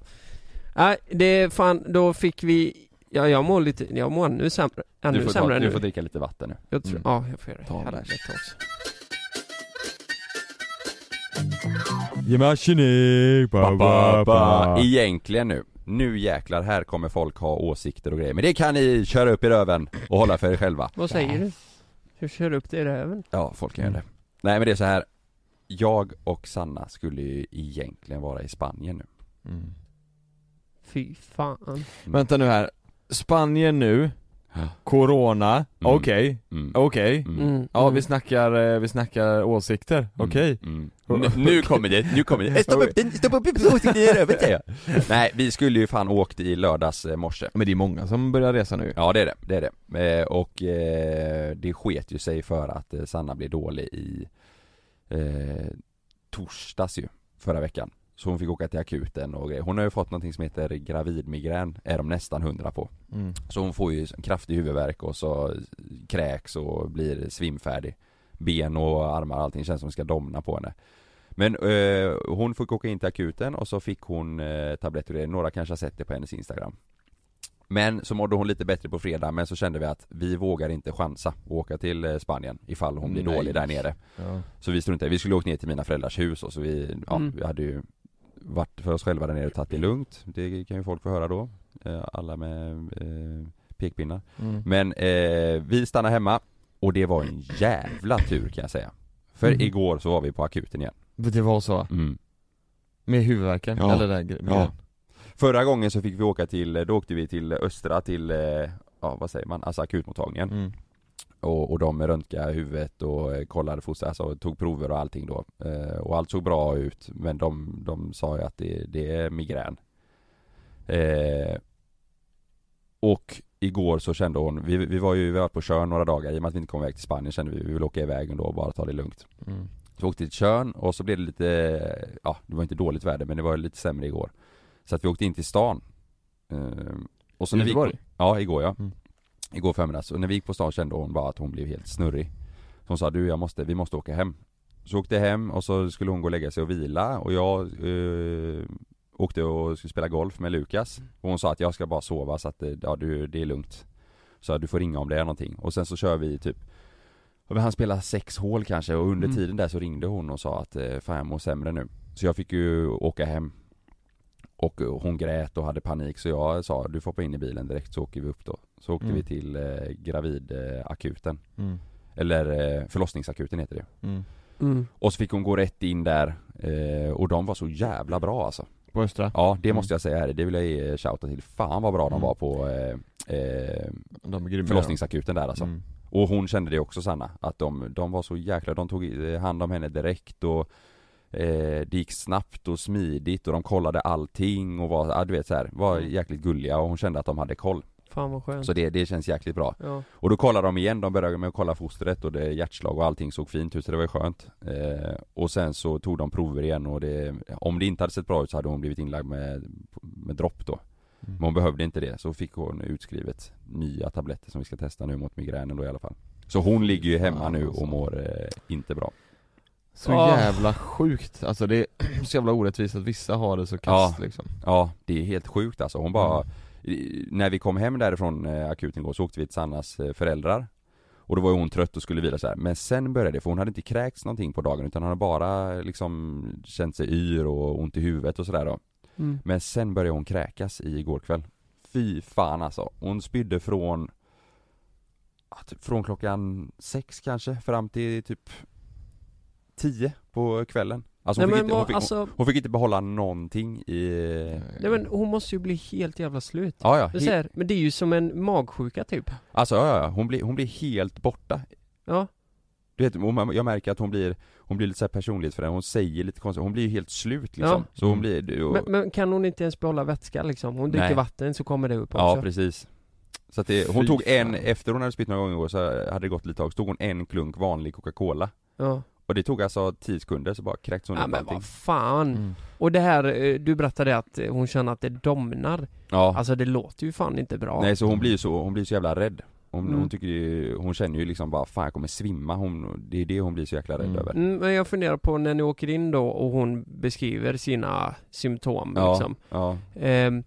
Nej, det är fan, då fick vi Ja, jag mår lite, jag mår ännu sämre, ännu Du får, sämre ta, nu. du får dricka lite vatten nu. Jag tror, Mm. ja jag får göra det. Ta en Helvete bärs. också. Ge mig arsenik, ba, ba, ba. Egentligen nu. Nu jäklar, här kommer folk ha åsikter och grejer. Men det kan ni köra upp i röven och hålla för er själva. Vad säger du? Hur kör du upp det i röven? Ja, folk kan göra det. Mm. Nej men det är så här. Jag och Sanna skulle ju egentligen vara i Spanien nu. Mm. Fy fan. Vänta nu här, Spanien nu, Corona, okej, okej. Mm. Ja vi snackar, eh, vi snackar åsikter, okej. Mm. Nu- Nu kommer det, nu kommer det. Stoppa upp den, stoppa upp den, åsikten i röven säger jag. Nej, vi skulle ju fan åkt i lördags eh, morse. Men det är många som börjar resa nu Ja det är det, det är det. Eh, Och eh, det sket ju sig för att eh, Sanna blev dålig i eh, torsdags ju, förra veckan. Så hon fick åka till akuten och grejer. Hon har ju fått någonting som heter gravidmigrän, är de nästan hundra på. Mm. Så hon får ju kraftig huvudvärk och så kräks och blir svimfärdig. Ben och armar och allting känns som ska domna på henne. Men eh, hon fick åka in till akuten och så fick hon eh, tabletter och grejer. Några kanske har sett det på hennes instagram. Men så mådde hon lite bättre på fredag men så kände vi att vi vågar inte chansa och åka till eh, Spanien ifall hon blir Nej. dålig där nere. Ja. Så vi struntade, vi skulle åkt ner till mina föräldrars hus och så vi, ja, Mm. vi hade ju varit för oss själva där nere och tagit det lugnt. Det kan ju folk få höra då, eh, alla med eh, pekpinnar. Mm. Men eh, vi stannade hemma och det var en jävla tur kan jag säga. För Mhm. igår så var vi på akuten igen. Det var så? Mm. Med huvudvärken? Ja. Eller där, gre- Ja. Förra gången så fick vi åka till, då åkte vi till Östra till, eh, ja vad säger man, alltså Mm. akutmottagningen och, och de röntgade huvudet och eh, kollade foster, alltså tog prover och allting då eh, Och allt såg bra ut men de, de sa ju att det, det är migrän eh, Och igår så kände hon, vi, vi var ju vi var på Tjörn några dagar, i och med att vi inte kom iväg till Spanien kände vi vi vill åka iväg ändå och bara ta det lugnt Mm. så åkte vi till Tjörn och så blev det lite, ja det var inte dåligt väder men det var lite sämre igår Så att vi åkte in till stan Ehm, och så I när vi gick på, Göteborg? Ja, igår ja Igår förmiddags, och när vi gick på stan kände hon bara att hon blev helt snurrig Så hon sa du jag måste, vi måste åka hem Så åkte jag hem och så skulle hon gå och lägga sig och vila och jag eh, åkte och skulle spela golf med Lukas Och hon sa att jag ska bara sova så att eh, ja, du, det är lugnt Så att du får ringa om det är någonting och sen så kör vi typ Ja, men han spelade sex hål kanske och under Mm. tiden där så ringde hon och sa att eh, fan jag mår sämre nu Så jag fick ju åka hem Och eh, hon grät och hade panik så jag sa du får hoppa in i bilen direkt så åker vi upp då Så åkte Mm. vi till eh, gravidakuten Mm. Eller eh, förlossningsakuten heter det Mm. Mm. Och så fick hon gå rätt in där eh, och de var så jävla bra alltså På Östra? Ja det Mm. måste jag säga här, det vill jag ge shouta till. Fan vad bra de var på eh, eh, grymma, förlossningsakuten där alltså Mm. Och hon kände det också Sanna, att de, de var så jäkla, de tog i- eh, hand om henne direkt och eh, det gick snabbt och smidigt och de kollade allting och var, ja, du vet så här, var jäkligt gulliga och hon kände att de hade koll Fan vad skönt. Så Mm. det, det känns jäkligt bra Ja. och då kollade de igen, de började med att kolla fostret och det hjärtslag och allting såg fint ut så det var ju skönt eh, Och sen så tog de prover igen och det, om det inte hade sett bra ut så hade hon blivit inlagd med, med dropp då Mm. Men hon behövde inte det, så fick hon utskrivet nya tabletter som vi ska testa nu mot migränen då i alla fall Så hon ligger ju hemma nu och mår eh, inte bra Så Ah. jävla sjukt, alltså det är så jävla orättvist att vissa har det så Ja, kast liksom ja det är helt sjukt alltså. Hon bara, i- när vi kom hem därifrån eh, akuten igår så åkte vi till Sannas eh, föräldrar och då var ju hon trött och skulle vila så här. men sen började det, för hon hade inte kräkts någonting på dagen utan hon hade bara liksom känt sig yr och ont i huvudet och sådär då Mm. Men sen började hon kräkas i igår kväll Fy fan alltså, hon spydde från ja, typ från klockan sex kanske fram till typ tio på kvällen Alltså hon, Nej, fick, men inte, hon, vad- fick, alltså- hon, hon fick inte behålla någonting i Nej men hon måste ju bli helt jävla slut. Ja, ja. Det är så här, men det är ju som en magsjuka typ. Alltså ja, ja, ja. hon blir, hon blir helt borta Ja. Du vet, hon- jag märker att hon blir, hon blir lite så här personlighetsförändrad, hon säger lite konstigt, hon blir ju helt slut liksom Ja. Så hon blir, du- och, Men, men kan hon inte ens behålla vätska liksom? Hon dricker Nej. vatten så kommer det upp också. ja precis Så att det, hon Fy tog en, fan. efter hon hade spytt några gånger igår så hade det gått lite tag, så tog hon en klunk vanlig Coca-Cola Ja. Och det tog alltså 10 sekunder så bara Mm. kräktes hon Ja, upp men allting vad fan. Och det här, eh, du berättade att eh, hon känner att det domnar. Ja. Alltså det låter ju fan inte bra. Nej så hon blir ju så, hon blir så jävla rädd hon, Mm. hon tycker ju, hon känner ju liksom bara fan jag kommer svimma, hon, det är det hon blir så jäkla rädd över Mm, Men jag funderar på när ni åker in då och hon beskriver sina symptom Ja, liksom. ja. Ehm,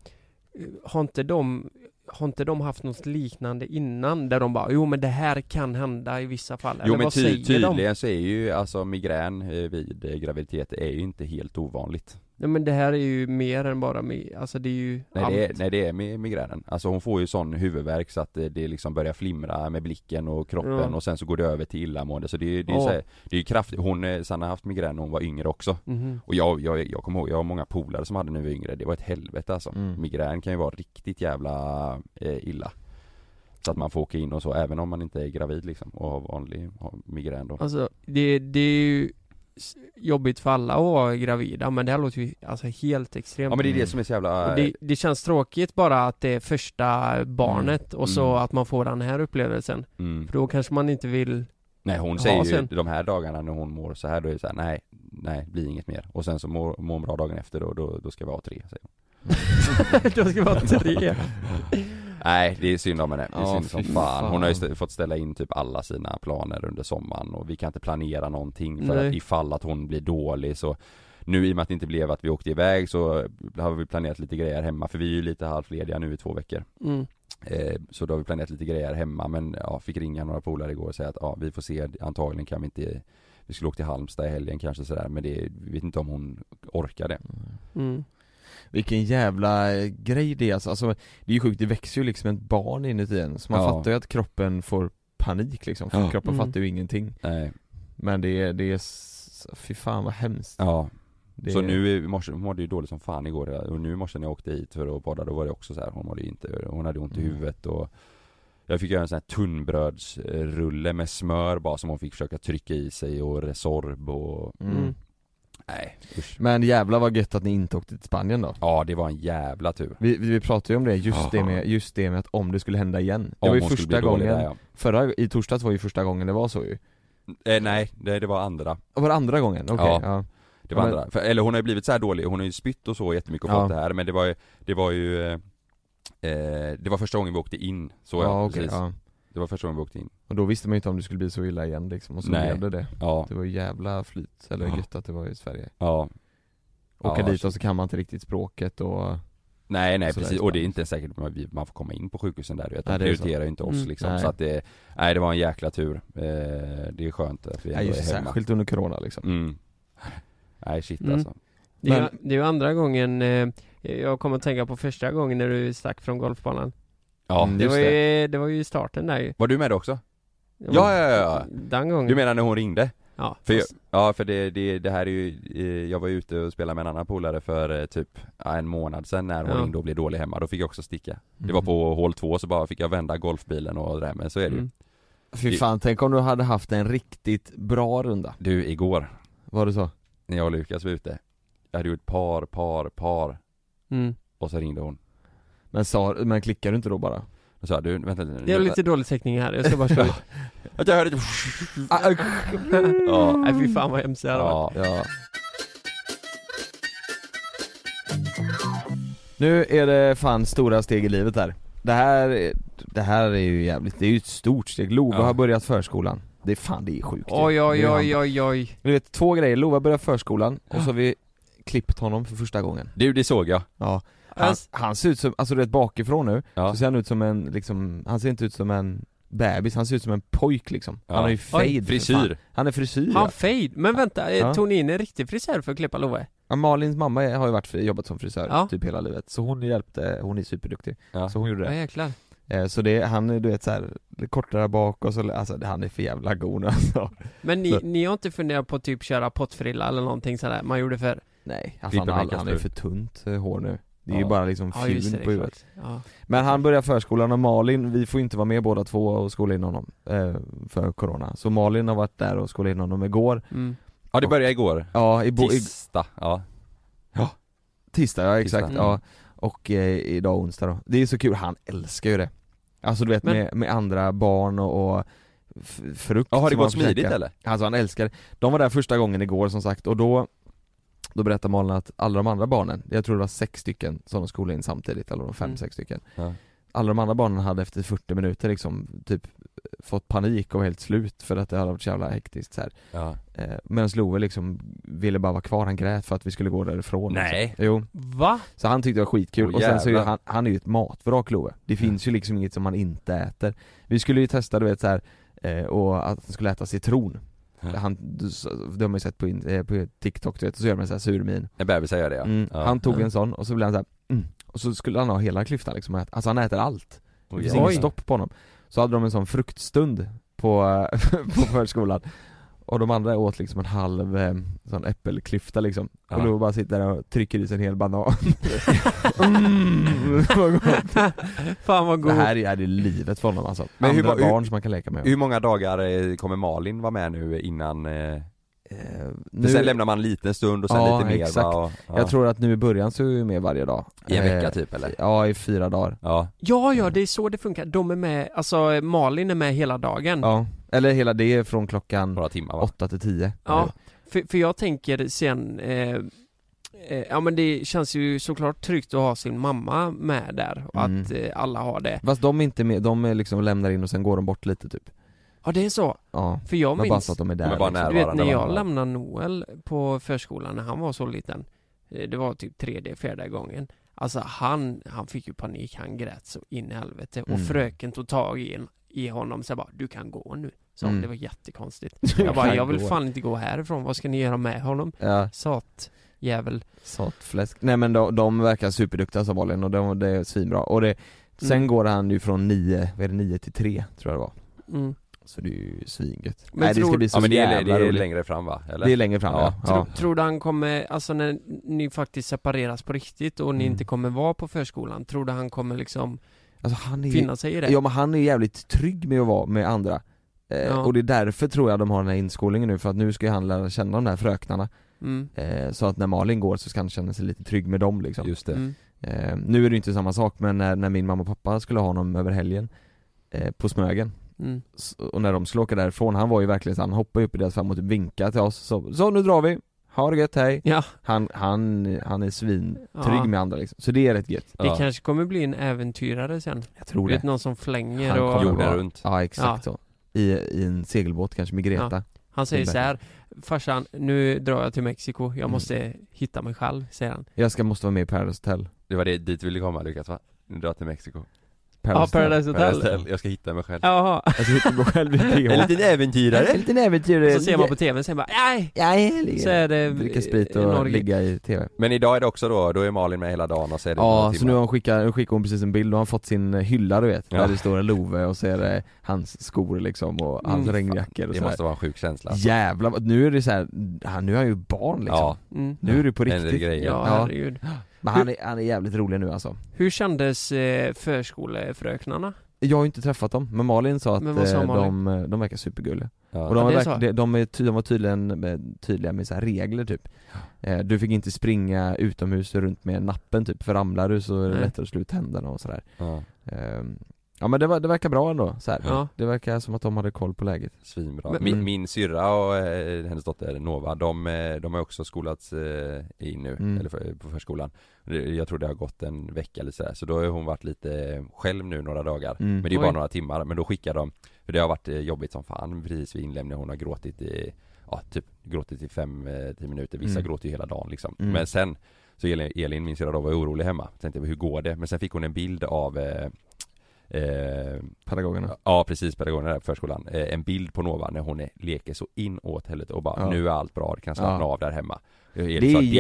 har, inte de, har inte de haft något liknande innan? Där de bara, jo men det här kan hända i vissa fall. Jo Eller men vad ty- säger tydligen de? så är ju alltså migrän eh, vid eh, graviditet är ju inte helt ovanligt Nej men det här är ju mer än bara, mi- alltså det är ju Nej allt. det, är, nej det är mi- migränen, alltså hon får ju sån huvudvärk så att eh, det liksom börjar flimra med blicken och kroppen Ja. och sen så går det över till illamående så det, är- det är ju Ja. så här, det är ju kraftigt, hon, eh, Sanna har haft migrän när hon var yngre också Mhm. Och jag, jag, jag kommer ihåg, jag har många polare som hade när vi var yngre, det var ett helvete alltså Mm. Migrän kan ju vara riktigt jävla eh, illa Så att man får åka in och så, även om man inte är gravid liksom och har vanlig har migrän då. Alltså, det, det är ju s- jobbigt för alla att vara gravida, men det här låter ju alltså helt extremt Ja men det är det som är så jävla... Och det, det känns tråkigt bara att det är första barnet och så att man får den här upplevelsen. Mm. För då kanske man inte vill Nej hon ha säger ju sen. de här dagarna när hon mår så här då är det så här, nej, nej, blir inget mer. Och sen så mår, mår hon bra dagen efter då, då, då ska vi ha tre säger hon. då ska vi ha tre. nej det är synd om henne, det är Ja, synd som fy fan. Hon har ju fan. st- fått ställa in typ alla sina planer under sommaren och vi kan inte planera någonting för Nej. att ifall att hon blir dålig så nu i och med att det inte blev att vi åkte iväg så har vi planerat lite grejer hemma för vi är ju lite halvlediga nu i två veckor. Mm. Eh, Så då har vi planerat lite grejer hemma men ja, fick ringa några polare igår och säga att ja, vi får se, antagligen kan vi inte Vi skulle åka till Halmstad i helgen kanske sådär men det, vi vet inte om hon orkar det Mm. Vilken jävla eh, grej det är alltså, alltså det är ju sjukt, det växer ju liksom ett barn inuti en så man Ja. fattar ju att kroppen får panik liksom, för Ja. kroppen Mm. fattar ju ingenting Nej. Men det är, det är, s- fy fan vad hemskt Ja det Så är, nu i morse, hon mådde ju dåligt som fan igår och nu i morse när jag åkte hit för att bada då var det också så här, hon mådde ju inte, hon hade ont i Mm. huvudet och Jag fick göra en sån här tunnbrödsrulle med smör bara som hon fick försöka trycka i sig och Resorb och Mm. Nej usch. Men jävla vad gött att ni inte åkte till Spanien då Ja det var en jävla tur Vi, vi vi pratade ju om det, just, Ja. det med, just det med att om det skulle hända igen Det Om var ju hon skulle första bli dålig gången, där, ja. förra, i torsdags var ju första gången det var så ju eh, Nej, det, det var andra Var det andra gången? Okej, Ja. ja. Det var Ja, men- andra, för, eller hon har ju blivit så här dålig, hon har ju spytt och så jättemycket och Ja. fått det här men det var ju, det var ju eh, eh, Det var första gången vi åkte in, så ja, Ja, okej, precis ja. Det var första gången vi åkte in Och då visste man ju inte om det skulle bli så illa igen liksom, och så Nej. blev det det Ja. Det var ju jävla flyt, eller Ja. gött att det var i Sverige Ja Åka Ja, dit och så kan man inte riktigt språket och Nej nej och sådär. precis, och det är inte säkert att man- vi- man får komma in på sjukhusen där du vet, de Nej, det är så. prioriterar ju inte oss Mm. liksom Nej. så att det, nej det var en jäkla tur eh, Det är skönt att vi ändå Nej, just är hemma särskilt under corona liksom mm. Nej shit Mm. alltså Det är, ju, det är ju andra gången, eh, jag kommer att tänka på första gången när du stack från golfbanan. Ja, Mm. det, Mm, just var ju, det. det. var ju i starten där ju. Var du med då också? Det var- Ja, ja, ja, ja. Den gången. Du menar när hon ringde? Ja, För jag, fast- ja, för det, det, det här är ju, eh, jag var ju ute och spelade med en annan polare för eh, typ ja, en månad sedan när hon Ja. ringde och blev dålig hemma, då fick jag också sticka. Mm. Det Mm. var på hål två så bara fick jag vända golfbilen och det där, men så är det ju. Mm. Fy fan, tänk om du hade haft en riktigt bra runda Du, igår, Var det så? när jag och Lukas var ute, jag hade gjort par, par, par Mm. och så ringde hon. Men, sa, men klickade du inte då bara? Då sa jag, du, vänta lite nu. Det är lite dålig täckning här, jag ska bara slå ut. Att jag hörde typ... Ah, ja. Nej fy fan vad hemskt det hade varit. Ja. ja. Nu är det fan stora steg i livet här Det här, det här är ju jävligt, det är ju ett stort steg, Lova Ja. har börjat förskolan Det är fan, det är sjukt ju. Oj Det oj är oj han- oj oj. Du vet, två grejer, Lova börjar förskolan och så har vi klippt honom för första gången Du, det såg jag. Ja, han, han ser ut som, alltså du vet bakifrån nu, så ser han ut som en liksom, han ser inte ut som en bebis, han ser ut som en pojk liksom Ja. Han har ju fade Oj. för Frisyr. fan. Han är frisyr ja. Han fade. Men vänta, eh, Ja. tog ni in en riktig frisör för att klippa Love? ja, Malins mamma har ju varit, fri- jobbat som frisör Ja. typ hela livet, så hon hjälpte, hon är superduktig Ja. Så hon gjorde Ja det jäklar. Eh, Så det, han är du vet såhär, kortare bak och så, alltså det- han är för jävla god nu, alltså Men ni, Så- ni har inte funderat på att typ köra pottfrilla eller någonting sådär man gjorde förr? Nej, Alltså, han, har- han är för tunt eh, hår nu Det är ju Ja. bara liksom Ja, just det, fjun det är på huvudet klart. Ja. Men han börjar förskolan och Malin, vi får inte vara med båda två och skola in honom eh, för corona Så Malin har varit där och skolat in honom igår Mm. Ja, det började igår. Ja, i bo- i- Tisdag, ja. Ja, tisdag ja exakt, Mm. Tisdag. ja Och eh, idag onsdag då. Det är så kul, han älskar ju det Alltså du vet Men- med, med andra barn och, och f- frukt Ja, har det som gått han försöker- smidigt, eller? Alltså han älskar det. De var där första gången igår som sagt och då då berättade Malin att alla de andra barnen, jag tror det var sex stycken som de skolade in samtidigt, eller de fem, Mm. sex stycken Ja. Alla de andra barnen hade efter 40 minuter liksom typ fått panik och var helt slut för att det hade varit så jävla hektiskt så här. Ja. Eh, Medan Loe liksom ville bara vara kvar, han grät för att vi skulle gå därifrån Nej. så. Jo Va? Så han tyckte det var skitkul Åh, och sen så är ju jävlar. Mm. han, han är ju ett matvrak Loe Det finns ju liksom inget som han inte äter Vi skulle ju testa du vet så här, eh, och att han skulle äta citron han, du, s- det har man ju sett på, in, eh, på TikTok du vet, och så gör man en sån här sur min En bebis gör det ja. mm. ja. Han tog en sån och så blev han så här, mm. och så skulle han ha hela klyftan liksom, att- alltså han äter allt Det Oj, finns jävlar. inget stopp på honom Så hade de en sån fruktstund på, på förskolan Och de andra åt liksom en halv eh, sån äppelklyfta liksom. Ja. Och då bara sitter där och trycker i sig en hel banan. mm, vad gott. Fan vad Det här är det livet för honom alltså. Men Andra ma- barn som man kan leka med. Hur många dagar eh, kommer Malin vara med nu innan? Eh, för nu- Sen lämnar man en liten stund och sen Ja, lite mer exakt. va? Och, ja. Jag tror att nu i början så är vi med varje dag. I en vecka Eh, Mm. typ, Mm. eller? Ja, i fyra dagar. Ja. Ja, ja, det är så det funkar. De är med, alltså Malin är med hela dagen. Ja, eller hela det är från klockan timmar, åtta till tio. Ja, för, för jag tänker sen, eh, eh, ja men det känns ju såklart tryggt att ha sin mamma med där och Mm. att eh, alla har det. Fast de är inte med, de är liksom lämnar in och sen går de bort lite typ. Ja det är så. Ja. För jag men minns, bara så att de är där. liksom. Alltså, du vet när jag lämnade Noel på förskolan när han var så liten, eh, det var typ tredje, fjärde gången. Alltså han, han fick ju panik, han grät så in i helvete och Mm. fröken tog tag i, i honom så bara du kan gå nu. Så Mm. det var jättekonstigt. Du Jag bara kan jag vill gå." fan inte gå härifrån, vad ska ni göra med honom? Ja. Sat jävel. Satfläsk. Nej men de, de verkar superduktiga som Malin och de, det är svinbra. Och det, sen Mm. går han ju från nio, vad är det, nio till tre tror jag det var. Mm. Så det är ju svingött. Men Nej det tror- ska bli så Ja, men det är- jävla det är roligt. längre fram, va? Eller? Det är längre fram ja. Ja. ja. Tro, tror du han kommer, alltså när ni faktiskt separeras på riktigt och Mm. ni inte kommer vara på förskolan, tror du han kommer liksom Alltså, han är, finna sig i det? Ja men han är jävligt trygg med att vara med andra. Eh, Ja. Och det är därför tror jag de har den här inskolningen nu för att nu ska ju han lära känna de här fröknarna. Mm. Eh, så att när Malin går så ska han känna sig lite trygg med dem liksom. Just det. Mm. Eh, nu är det inte samma sak men när, när min mamma och pappa skulle ha honom över helgen eh, på Smögen Mm. S- och när de skulle åka därifrån, han var ju verkligen så han hoppade upp i deras famn och typ vinkade till oss så, så nu drar vi, ha det gött, hej! Ja. Han, han, han är svintrygg Ja. med andra liksom, så det är rätt gött Det kanske kommer bli en äventyrare sen. Jag tror du vet det. någon som flänger Han och... kommer Jorden vara- runt. Ja exakt så, I, i en segelbåt kanske med Greta Ja. Han säger så här, farsan, nu drar jag till Mexiko, jag Mm. måste hitta mig själv, säger han. Jag ska, måste vara med i Paradise Hotel Det var det, dit du ville komma Lukas va? Nu drar jag till Mexiko Ja, Paradise Hotel. Paradise Hotel, jag ska hitta mig själv Jaha. Alltså, Jag ska hitta mig själv i En PH liten äventyrare! En liten äventyrare Så ser man på tvn, sen bara, nej! Nej, Så är det Dricka sprit och Norge. ligga i TV Men idag är det också då, då är Malin med hela dagen och så är det Ja, några så nu timmar. har hon skickat, nu skickar hon precis en bild och har fått sin hylla du vet, Ja. där det står en Love och så är det hans skor liksom och hans Mm, regnjackor och Det så måste här. vara en sjuk känsla alltså. Jävlar, vad- nu är det så här, han, nu är han ju barn liksom. Ja, Mm. Nu är det på det är riktigt. grejen. Ja, Ja. herregud. Men han är, han är jävligt rolig nu alltså. Hur kändes eh, förskolefröknarna? Jag har ju inte träffat dem, men Malin sa att Men vad sa eh, Malin? De, de verkar supergulliga. Ja. Och de, Ja, var det är verk, så. de, de, är, ty- de var tydligen eh, tydliga med så här regler typ. Eh, Du fick inte springa utomhus runt med nappen typ, för ramlar du så är det Nej. lättare att slå ut händerna och sådär. ja. Ehm, Ja men det, var, det verkar bra ändå så här. Ja. Det verkar som att de hade koll på läget Svinbra. Men- Mm. Min, min syrra och eh, hennes dotter Nova, de, eh, de har också skolats eh, in nu, Mm. eller för, på förskolan Det- Jag tror det har gått en vecka eller sådär, så då har hon varit lite själv nu några dagar Mm. Men det är bara Oj. några timmar, men då skickar de För det har varit eh, jobbigt som fan precis vid inlämningen, hon har gråtit i, ja typ gråtit i fem, eh, tio minuter, vissa Mm. gråter ju hela dagen liksom Mm. Men sen, så Elin, Elin min syrra då var orolig hemma, tänkte hur går det? Men sen fick hon en bild av eh, eh, Pedagogerna Ja precis, pedagogerna där på förskolan. Eh, en bild på Nova när hon är, leker så inåt helvete och bara Ja. nu är allt bra, det kan slappna Ja. av där hemma. Eh, är så att jävligt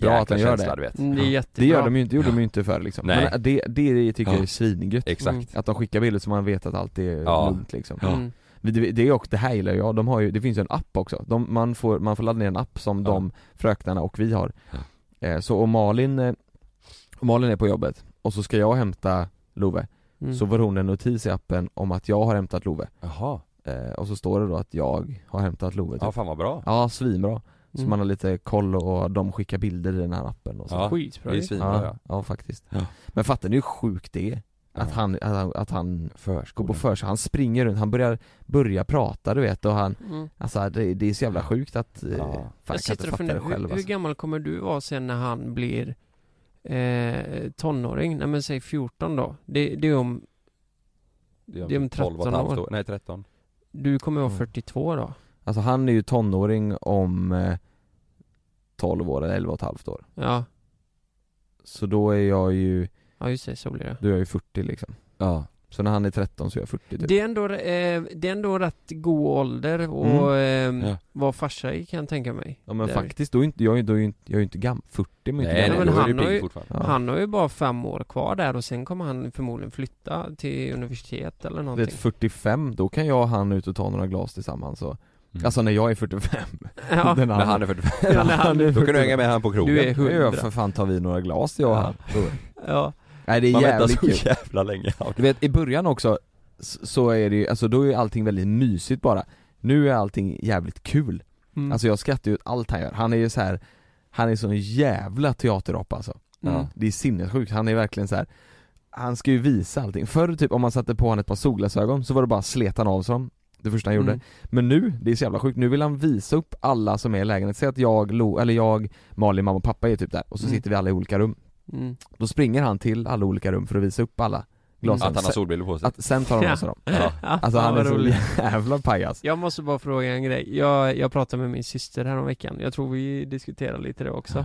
bra att jäkla de gör känsla, det. Du vet. Mm, Det är Ja. jättebra. Det gör de ju inte, gjorde de ju inte förr liksom Nej. Men det, det tycker jag är Ja. svingött Exakt. Mm. Att de skickar bilder så man vet att allt är Ja. lugnt liksom Ja. Mm. Men det, det, är också, det här gillar jag, de har ju, det finns ju en app också de, man, får, man får ladda ner en app som Ja. de fröknarna och vi har Eh, Så om Malin, eh, om Malin är på jobbet och så ska jag hämta Love Mm. Så får hon en notis i appen om att jag har hämtat Love Jaha, eh, Och så står det då att jag har hämtat Love typ. ja fan vad bra. Ja, svinbra. Så Mm. man har lite koll och de skickar bilder i den här appen och så. Ja. Skitbra Det är ju. svinbra ja. ja, ja, faktiskt. Ja. Men fattar ni hur sjukt det är? Att Ja. han, att han, att han går på Förskolan. för sig. han springer runt, han börjar, börjar prata du vet och han, Mm. alltså det, det är så jävla sjukt att, eh, Ja. fan, jag Jag kan inte sitter och fatta funderar, det hur, själv hur alltså. gammal kommer du vara sen när han blir eh, tonåring? Nej men säg 14 då. Det, det är om, det är om 12 och ett 13 halvt år. Nej 13. du kommer vara Mm. 42 då? alltså han är ju tonåring om eh, 12 år eller 11 och ett halvt år. Ja, Så då är jag ju, ja just det, så blir det. då är jag ju 40 liksom. Ja. Så när han är 13 så är jag 40 typ. Det är, ändå, eh, det är ändå rätt god ålder och eh, Ja. vara farsa i kan jag tänka mig. Mm. Ja men Där. faktiskt, då är inte, jag, är- då är ju inte, jag är ju inte gammal, 40 men jag är inte Nej, men gammal. han nej, men han är har du ju- pigg fortfarande. Ja. Han har ju bara fem år kvar där och sen kommer han förmodligen flytta till universitet eller Vet någonting. 45, då kan jag och han ut och ta några glas tillsammans och Alltså när jag är 45 Ja. Den När Mm. han är 45. Ja, när han är 45. Då kan du hänga med han på krogen. Du Du är är 100 100. Jag för fan tar vi några glas jag och han Ja. Nej det är Man väntar jävligt så kul jävla länge. Ja. Du vet i början också s- så är det ju, alltså då är allting väldigt mysigt bara Nu är allting jävligt kul Mm. Alltså jag skrattar ju åt allt han gör, han är ju så här Han är sån jävla teaterapa alltså Mm. Det är sinnessjukt, han är verkligen så här. Han ska ju visa allting, förr typ om man satte på han ett par solglasögon så var det bara sletan av sig dem Det första han gjorde Mm. Men nu, det är så jävla sjukt, nu vill han visa upp alla som är i lägenheten, säg att jag, Lo, eller jag, Malin, mamma och pappa är typ där och så Mm. sitter vi alla i olika rum Mm. Då springer han till alla olika rum för att visa upp alla Att glasögon han har solbrillor på sig. att sen tar han av sig dem. Ja. Alltså han Ja, är vad så roligt. jävla pajas. Jag måste bara fråga en grej. Jag, jag pratade med min syster häromveckan. Jag tror vi diskuterade lite det också.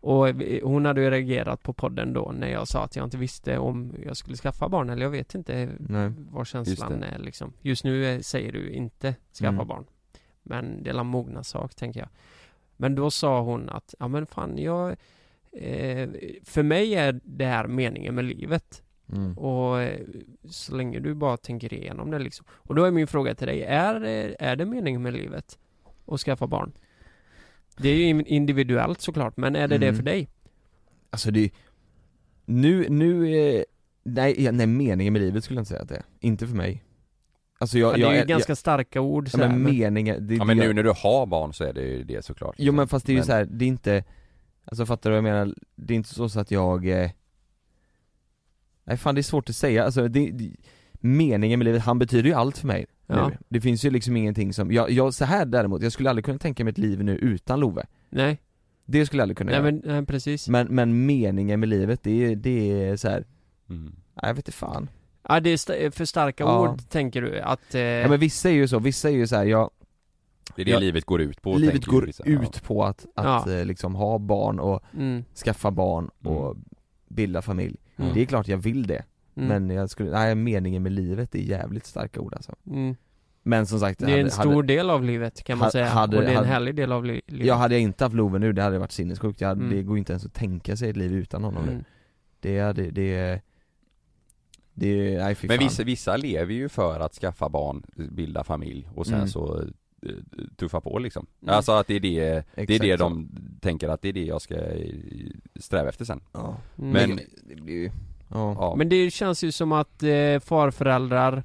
Och vi- hon hade ju reagerat på podden då när jag sa att jag inte visste om jag skulle skaffa barn eller jag vet inte Nej. vad känslan Just är liksom. Just nu eh, säger du inte skaffa Mm. barn. Men det är en mogna sak tänker jag. Men då sa hon att, ja men fan jag, eh, för mig är det här meningen med livet. Mm. Och eh, så länge du bara tänker igenom det liksom. Och då är min fråga till dig, är, det- är det meningen med livet? Att skaffa barn? Det är ju in- individuellt såklart, men är det det Mm. för dig? Alltså det är nu, nu, eh, nej, ja, nej meningen med livet skulle jag inte säga att det är. Inte för mig. Alltså jag, Ja, det är jag, ju jag, ganska starka ord så ja, här, men men- meningen, det, Ja men jag- nu när du har barn så är det ju det såklart. liksom. Jo men fast det är ju Men- så här, det är inte, alltså fattar du vad jag menar? Det är inte så så att jag eh, Nej fan det är svårt att säga, alltså det, det, meningen med livet, han betyder ju allt för mig Ja. nu. Det finns ju liksom ingenting som, jag, jag, så här däremot, jag skulle aldrig kunna tänka mig ett liv nu utan Love Nej, Det skulle jag Mm. aldrig kunna nej göra men nej, precis. men, men meningen med livet, det är, det är så här, Mm. nej, jag vet inte fan Ja, det är sta- för starka Ja. ord tänker du att... Eh, ja, men vissa är ju så, vissa är ju så här, jag, Det är det Ja. livet går ut på. livet tänker går ju vissa. ut på att, att Ja. eh, liksom ha barn och mm, skaffa barn och bilda familj Mm. Det är klart jag vill det mm, Men jag skulle, nej meningen med livet är jävligt starka ord alltså mm. Men som sagt, Det är en stor del av livet kan man Ha- säga. hade- och det är en hade- härlig del av li- livet. Ja hade jag inte haft Love nu, det hade varit sinnessjukt, jag, hade- Mm. det går ju inte ens att tänka sig ett liv utan honom nu mm. Det, hade- det, det, det, nej fy Men fan. vissa, vissa lever ju för att skaffa barn, bilda familj och sen Mm. så eh, tuffa på liksom. Mm. Alltså att det är det, det, är Exakt det så. de tänker att det är det jag ska eh, sträva efter sen. ja. Mm. Men- det, det blir ju, ja. Ja. Men det känns ju som att eh, farföräldrar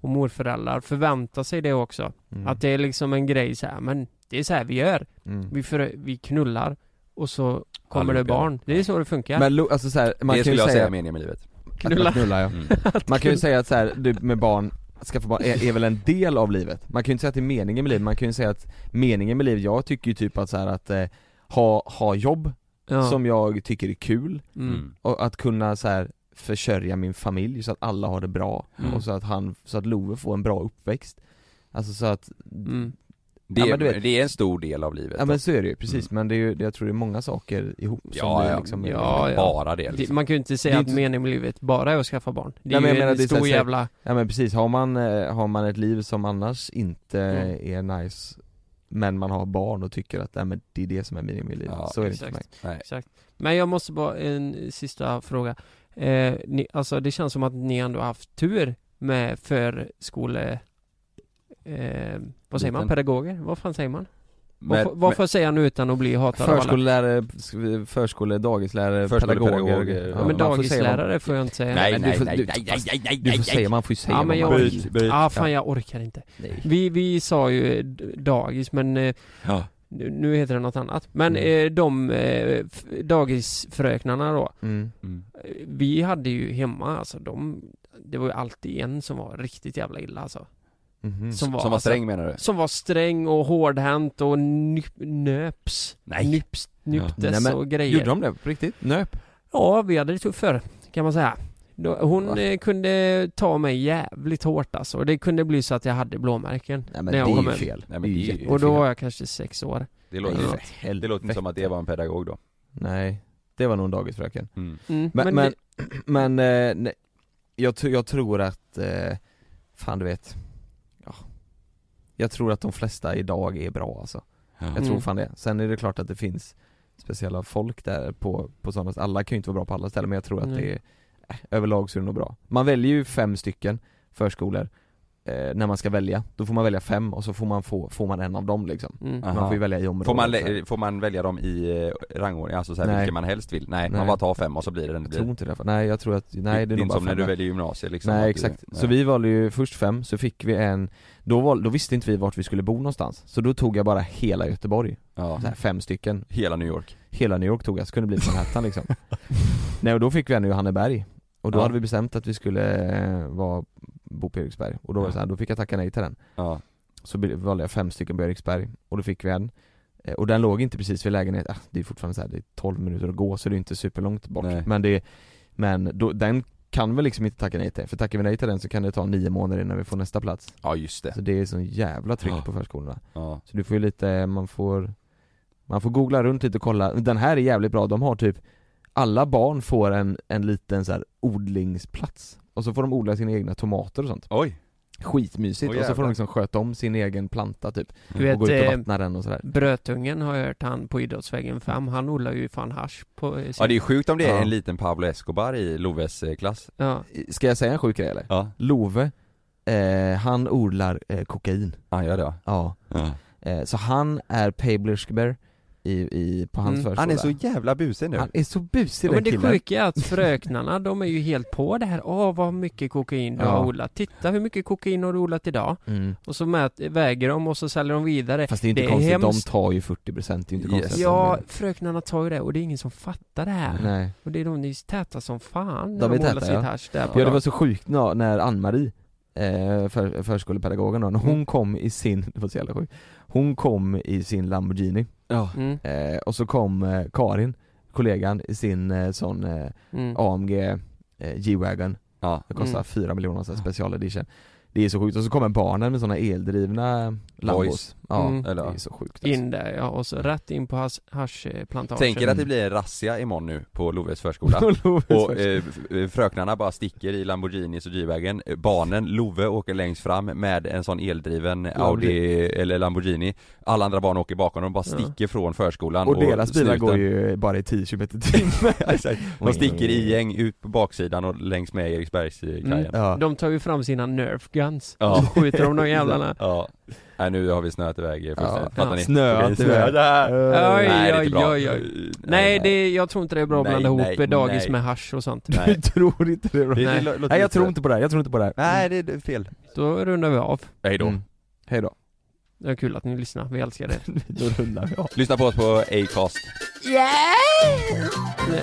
och morföräldrar förväntar sig det också. Mm. Att det är liksom en grej så här, men det är så här vi gör. Mm. Vi, för, vi knullar och så kommer det Allihopa. barn. Det är så det funkar. Men Lo- alltså så här, man det kan skulle ju jag säga säga, är meningen med livet. att man knullar ja. Mm. Man kan ju säga att så här, du med barn, att skaffa barn är, är väl en del av livet? Man kan ju inte säga att det är meningen med livet, man kan ju säga att meningen med livet, jag tycker ju typ att så här att eh, ha, ha jobb ja. som jag tycker är kul mm. och att kunna så här försörja min familj så att alla har det bra Mm. och så att han, så att Love får en bra uppväxt Alltså så att, Mm. Det, Ja, är, men du vet- det är en stor del av livet. Alltså. ja men så är det ju precis men det är ju, jag tror det är många saker ihop som Ja, det ja. liksom är Mm. Ja, ja. Bara det liksom. Det, man kan ju inte säga Det är att inte- meningen med livet bara är att skaffa barn. Det Nej, är men jag ju menar, en det är så stor här- jävla... Ja men precis, har man, eh, har man ett liv som annars inte Mm. är nice men man har barn och tycker att nej, men det är det som är meningen med livet, Ja, så är det Eh, inte för mig Exakt. Nej. Exakt. Men jag måste bara, en sista fråga. Eh, ni, alltså det känns som att ni ändå har haft tur med förskole... Eh, vad säger man? Liten. Pedagoger? Vad fan säger man? Men- vad får- vad får jag säga nu utan att bli hatad av alla? Förskollärare, sk- förskole, dagislärare, Förskolepedagog, pedagoger ja, man Ja, men får säga vad- dagislärare får jag inte säga. men, nej, men du nej, får- nej, du- nej, nej, nej, nej, Du får säga, man får ju säga Ja, vad men jag... man vill. Byt, byt. Ah, fan jag orkar inte. Nej. Vi, vi sa ju d- dagis men eh, Ja. nu nu heter det något annat. Men Mm. eh, de eh, f- dagisfröknarna då. Mm. Mm. eh, Vi hade ju hemma alltså de, det var ju alltid en som var riktigt jävla illa alltså. Mhm. Som var, Som var alltså- sträng menar du? Som var sträng och hårdhänt och nyp, nöps. Nej. Nyps, nyptes Nej, men och grejer. Gjorde de det på riktigt? Nöp? Ja, vi hade det tufft förr, kan man säga. Då, hon Va? eh, kunde ta mig jävligt hårt alltså. Och Det kunde bli så att jag hade blåmärken Nej men när jag det är kom ju hem. fel. Nej, men det är ju- jättefel. Och då var jag kanske sex år. Det Nej, låter, för som, det helvete. låter inte som att det var en pedagog då. Nej, det var nog en dagisfröken Mm. Mm, Men, men, men, men, det- eh, nej, jag, tr- jag tror att, eh, fan du vet, ja. Jag tror att de flesta idag är bra alltså. Jag Mm. tror fan det. Sen är det klart att det finns speciella folk där på, på sådana, alla kan ju inte vara bra på alla ställen men jag tror att Nej. det är, eh, överlag så är det nog bra. Man väljer ju fem stycken förskolor eh, när man ska välja, då får man välja fem och så får man, få, får man en av dem liksom. Mm. Man Aha. får ju välja i områden. Får man, så här. le- får man välja dem i eh, rangordning, alltså såhär Nej. vilken man helst vill? Nej, Nej. man bara tar fem och så blir det den det Jag blir. tror inte det, nej jag tror att, nej det är nog inte bara som när fem du där. väljer gymnasiet liksom att Nej du- exakt, nej. så vi valde ju först fem, så fick vi en, då, val, då visste inte vi vart vi skulle bo någonstans, så då tog jag bara hela Göteborg, Ja. så här, fem stycken Hela New York Hela New York tog jag, så kunde det bli Manhattan liksom Nej och då fick vi en i Johanneberg, och då Ja. hade vi bestämt att vi skulle eh, vara, bo på Eriksberg, och då var det så här, då fick jag tacka nej till den Ja. Så be- valde jag fem stycken på Eriksberg, och då fick vi en Eh, och den låg inte precis vid lägenheten, ah, det är fortfarande så här, det är 12 minuter att gå så det är inte superlångt bort Nej. Men det, men då, den kan vi liksom inte tacka nej till, för tackar vi nej till den så kan det ta nio månader innan vi får nästa plats Ja just det Så det är sån jävla tryck Ja. på förskolorna Ja, Så du får ju lite, man får Man får googla runt lite och kolla, den här är jävligt bra, de har typ Alla barn får en, en liten så här odlingsplats Och så får de odla sina egna tomater och sånt Oj Skitmysigt, Åh, och så får jävlar. de liksom sköta om sin egen planta typ Du vet, Och gå ut eh, och vattna den och sådär Brötungen har jag hört han på Idrottsvägen 5, han odlar ju fan hasch på eh, ja det är sjukt om det är Ja. en liten Pablo Escobar i Loves eh, klass Ja. Ska jag säga en sjuk grej eller? Ja. Love, eh, han odlar eh, kokain Han gör det Ja ja. eh, Så han är Pablerskber i, i, på hans Mm. förskola Han är så jävla busig nu Han är så busig Ja, den men det killen sjuka är att fröknarna, de är ju helt på det här. Åh, vad mycket kokain du Ja. har odlat. Titta hur mycket kokain har du odlat idag. Mm. Och så mät, väger de och så säljer de vidare. Fast det är inte konstigt, de tar ju 40% det är ju inte konstigt att de Ja, gör det. fröknarna tar ju det och det är ingen som fattar det här. Nej. Och det är de, de är ju täta som fan när De de, är odlar täta sitt ja. hasch där på ja det dagen. var så sjukt när, när Ann-Marie, eh, för, förskolepedagogen då, när hon kom i sin, det var så jävla sjukt Hon kom i sin Lamborghini Ja. Mm. eh, Och så kom eh, Karin, kollegan, i sin eh, sån eh, Mm. AMG eh, G-Wagon Ja. Det kostar Mm. 4 miljoner så här special edition Det är så sjukt, och så kommer barnen med såna eldrivna Lambos Boys. Ja, Mm. det Eller, är så sjukt alltså. In där ja, och så rätt in på hasch- haschplantagen. Tänker att det blir en razzia imorgon nu på Loves förskola På Loves Och eh, f- fröknarna bara sticker i Lamborghinis och G-vägen Barnen, Love åker längst fram med en sån eldriven Audi eller Lamborghini Alla andra barn åker bakom, de bara sticker från förskolan Och deras bilar snuten- går ju bara i 10 km i timmen Exakt. De sticker i gäng ut på baksidan och längs med Eriksbergskajen Mm. Ja. De tar ju fram sina nerf guns. Ja. Och så skjuter de de jävlarna. Ja, nej nu har vi snöat iväg fullständigt, Ja. fattar ni? Snöat Okej, iväg. snö där. Oj, Nej, det är oj, inte bra. oj, oj. Nej, det, jag tror inte det är bra att Nej, blanda ihop nej, dagis nej. med hasch och sånt. Nej. Du tror inte det Robert? Det- det Nej. lå- låter Nej jag lite- tror inte på det här, jag tror inte på det här Nej det är fel Då rundar vi av. Hej då. Mm. Hej då. Det är kul att ni lyssnar, vi älskar er. Då rullar vi av. Lyssna på oss på Acast Nej.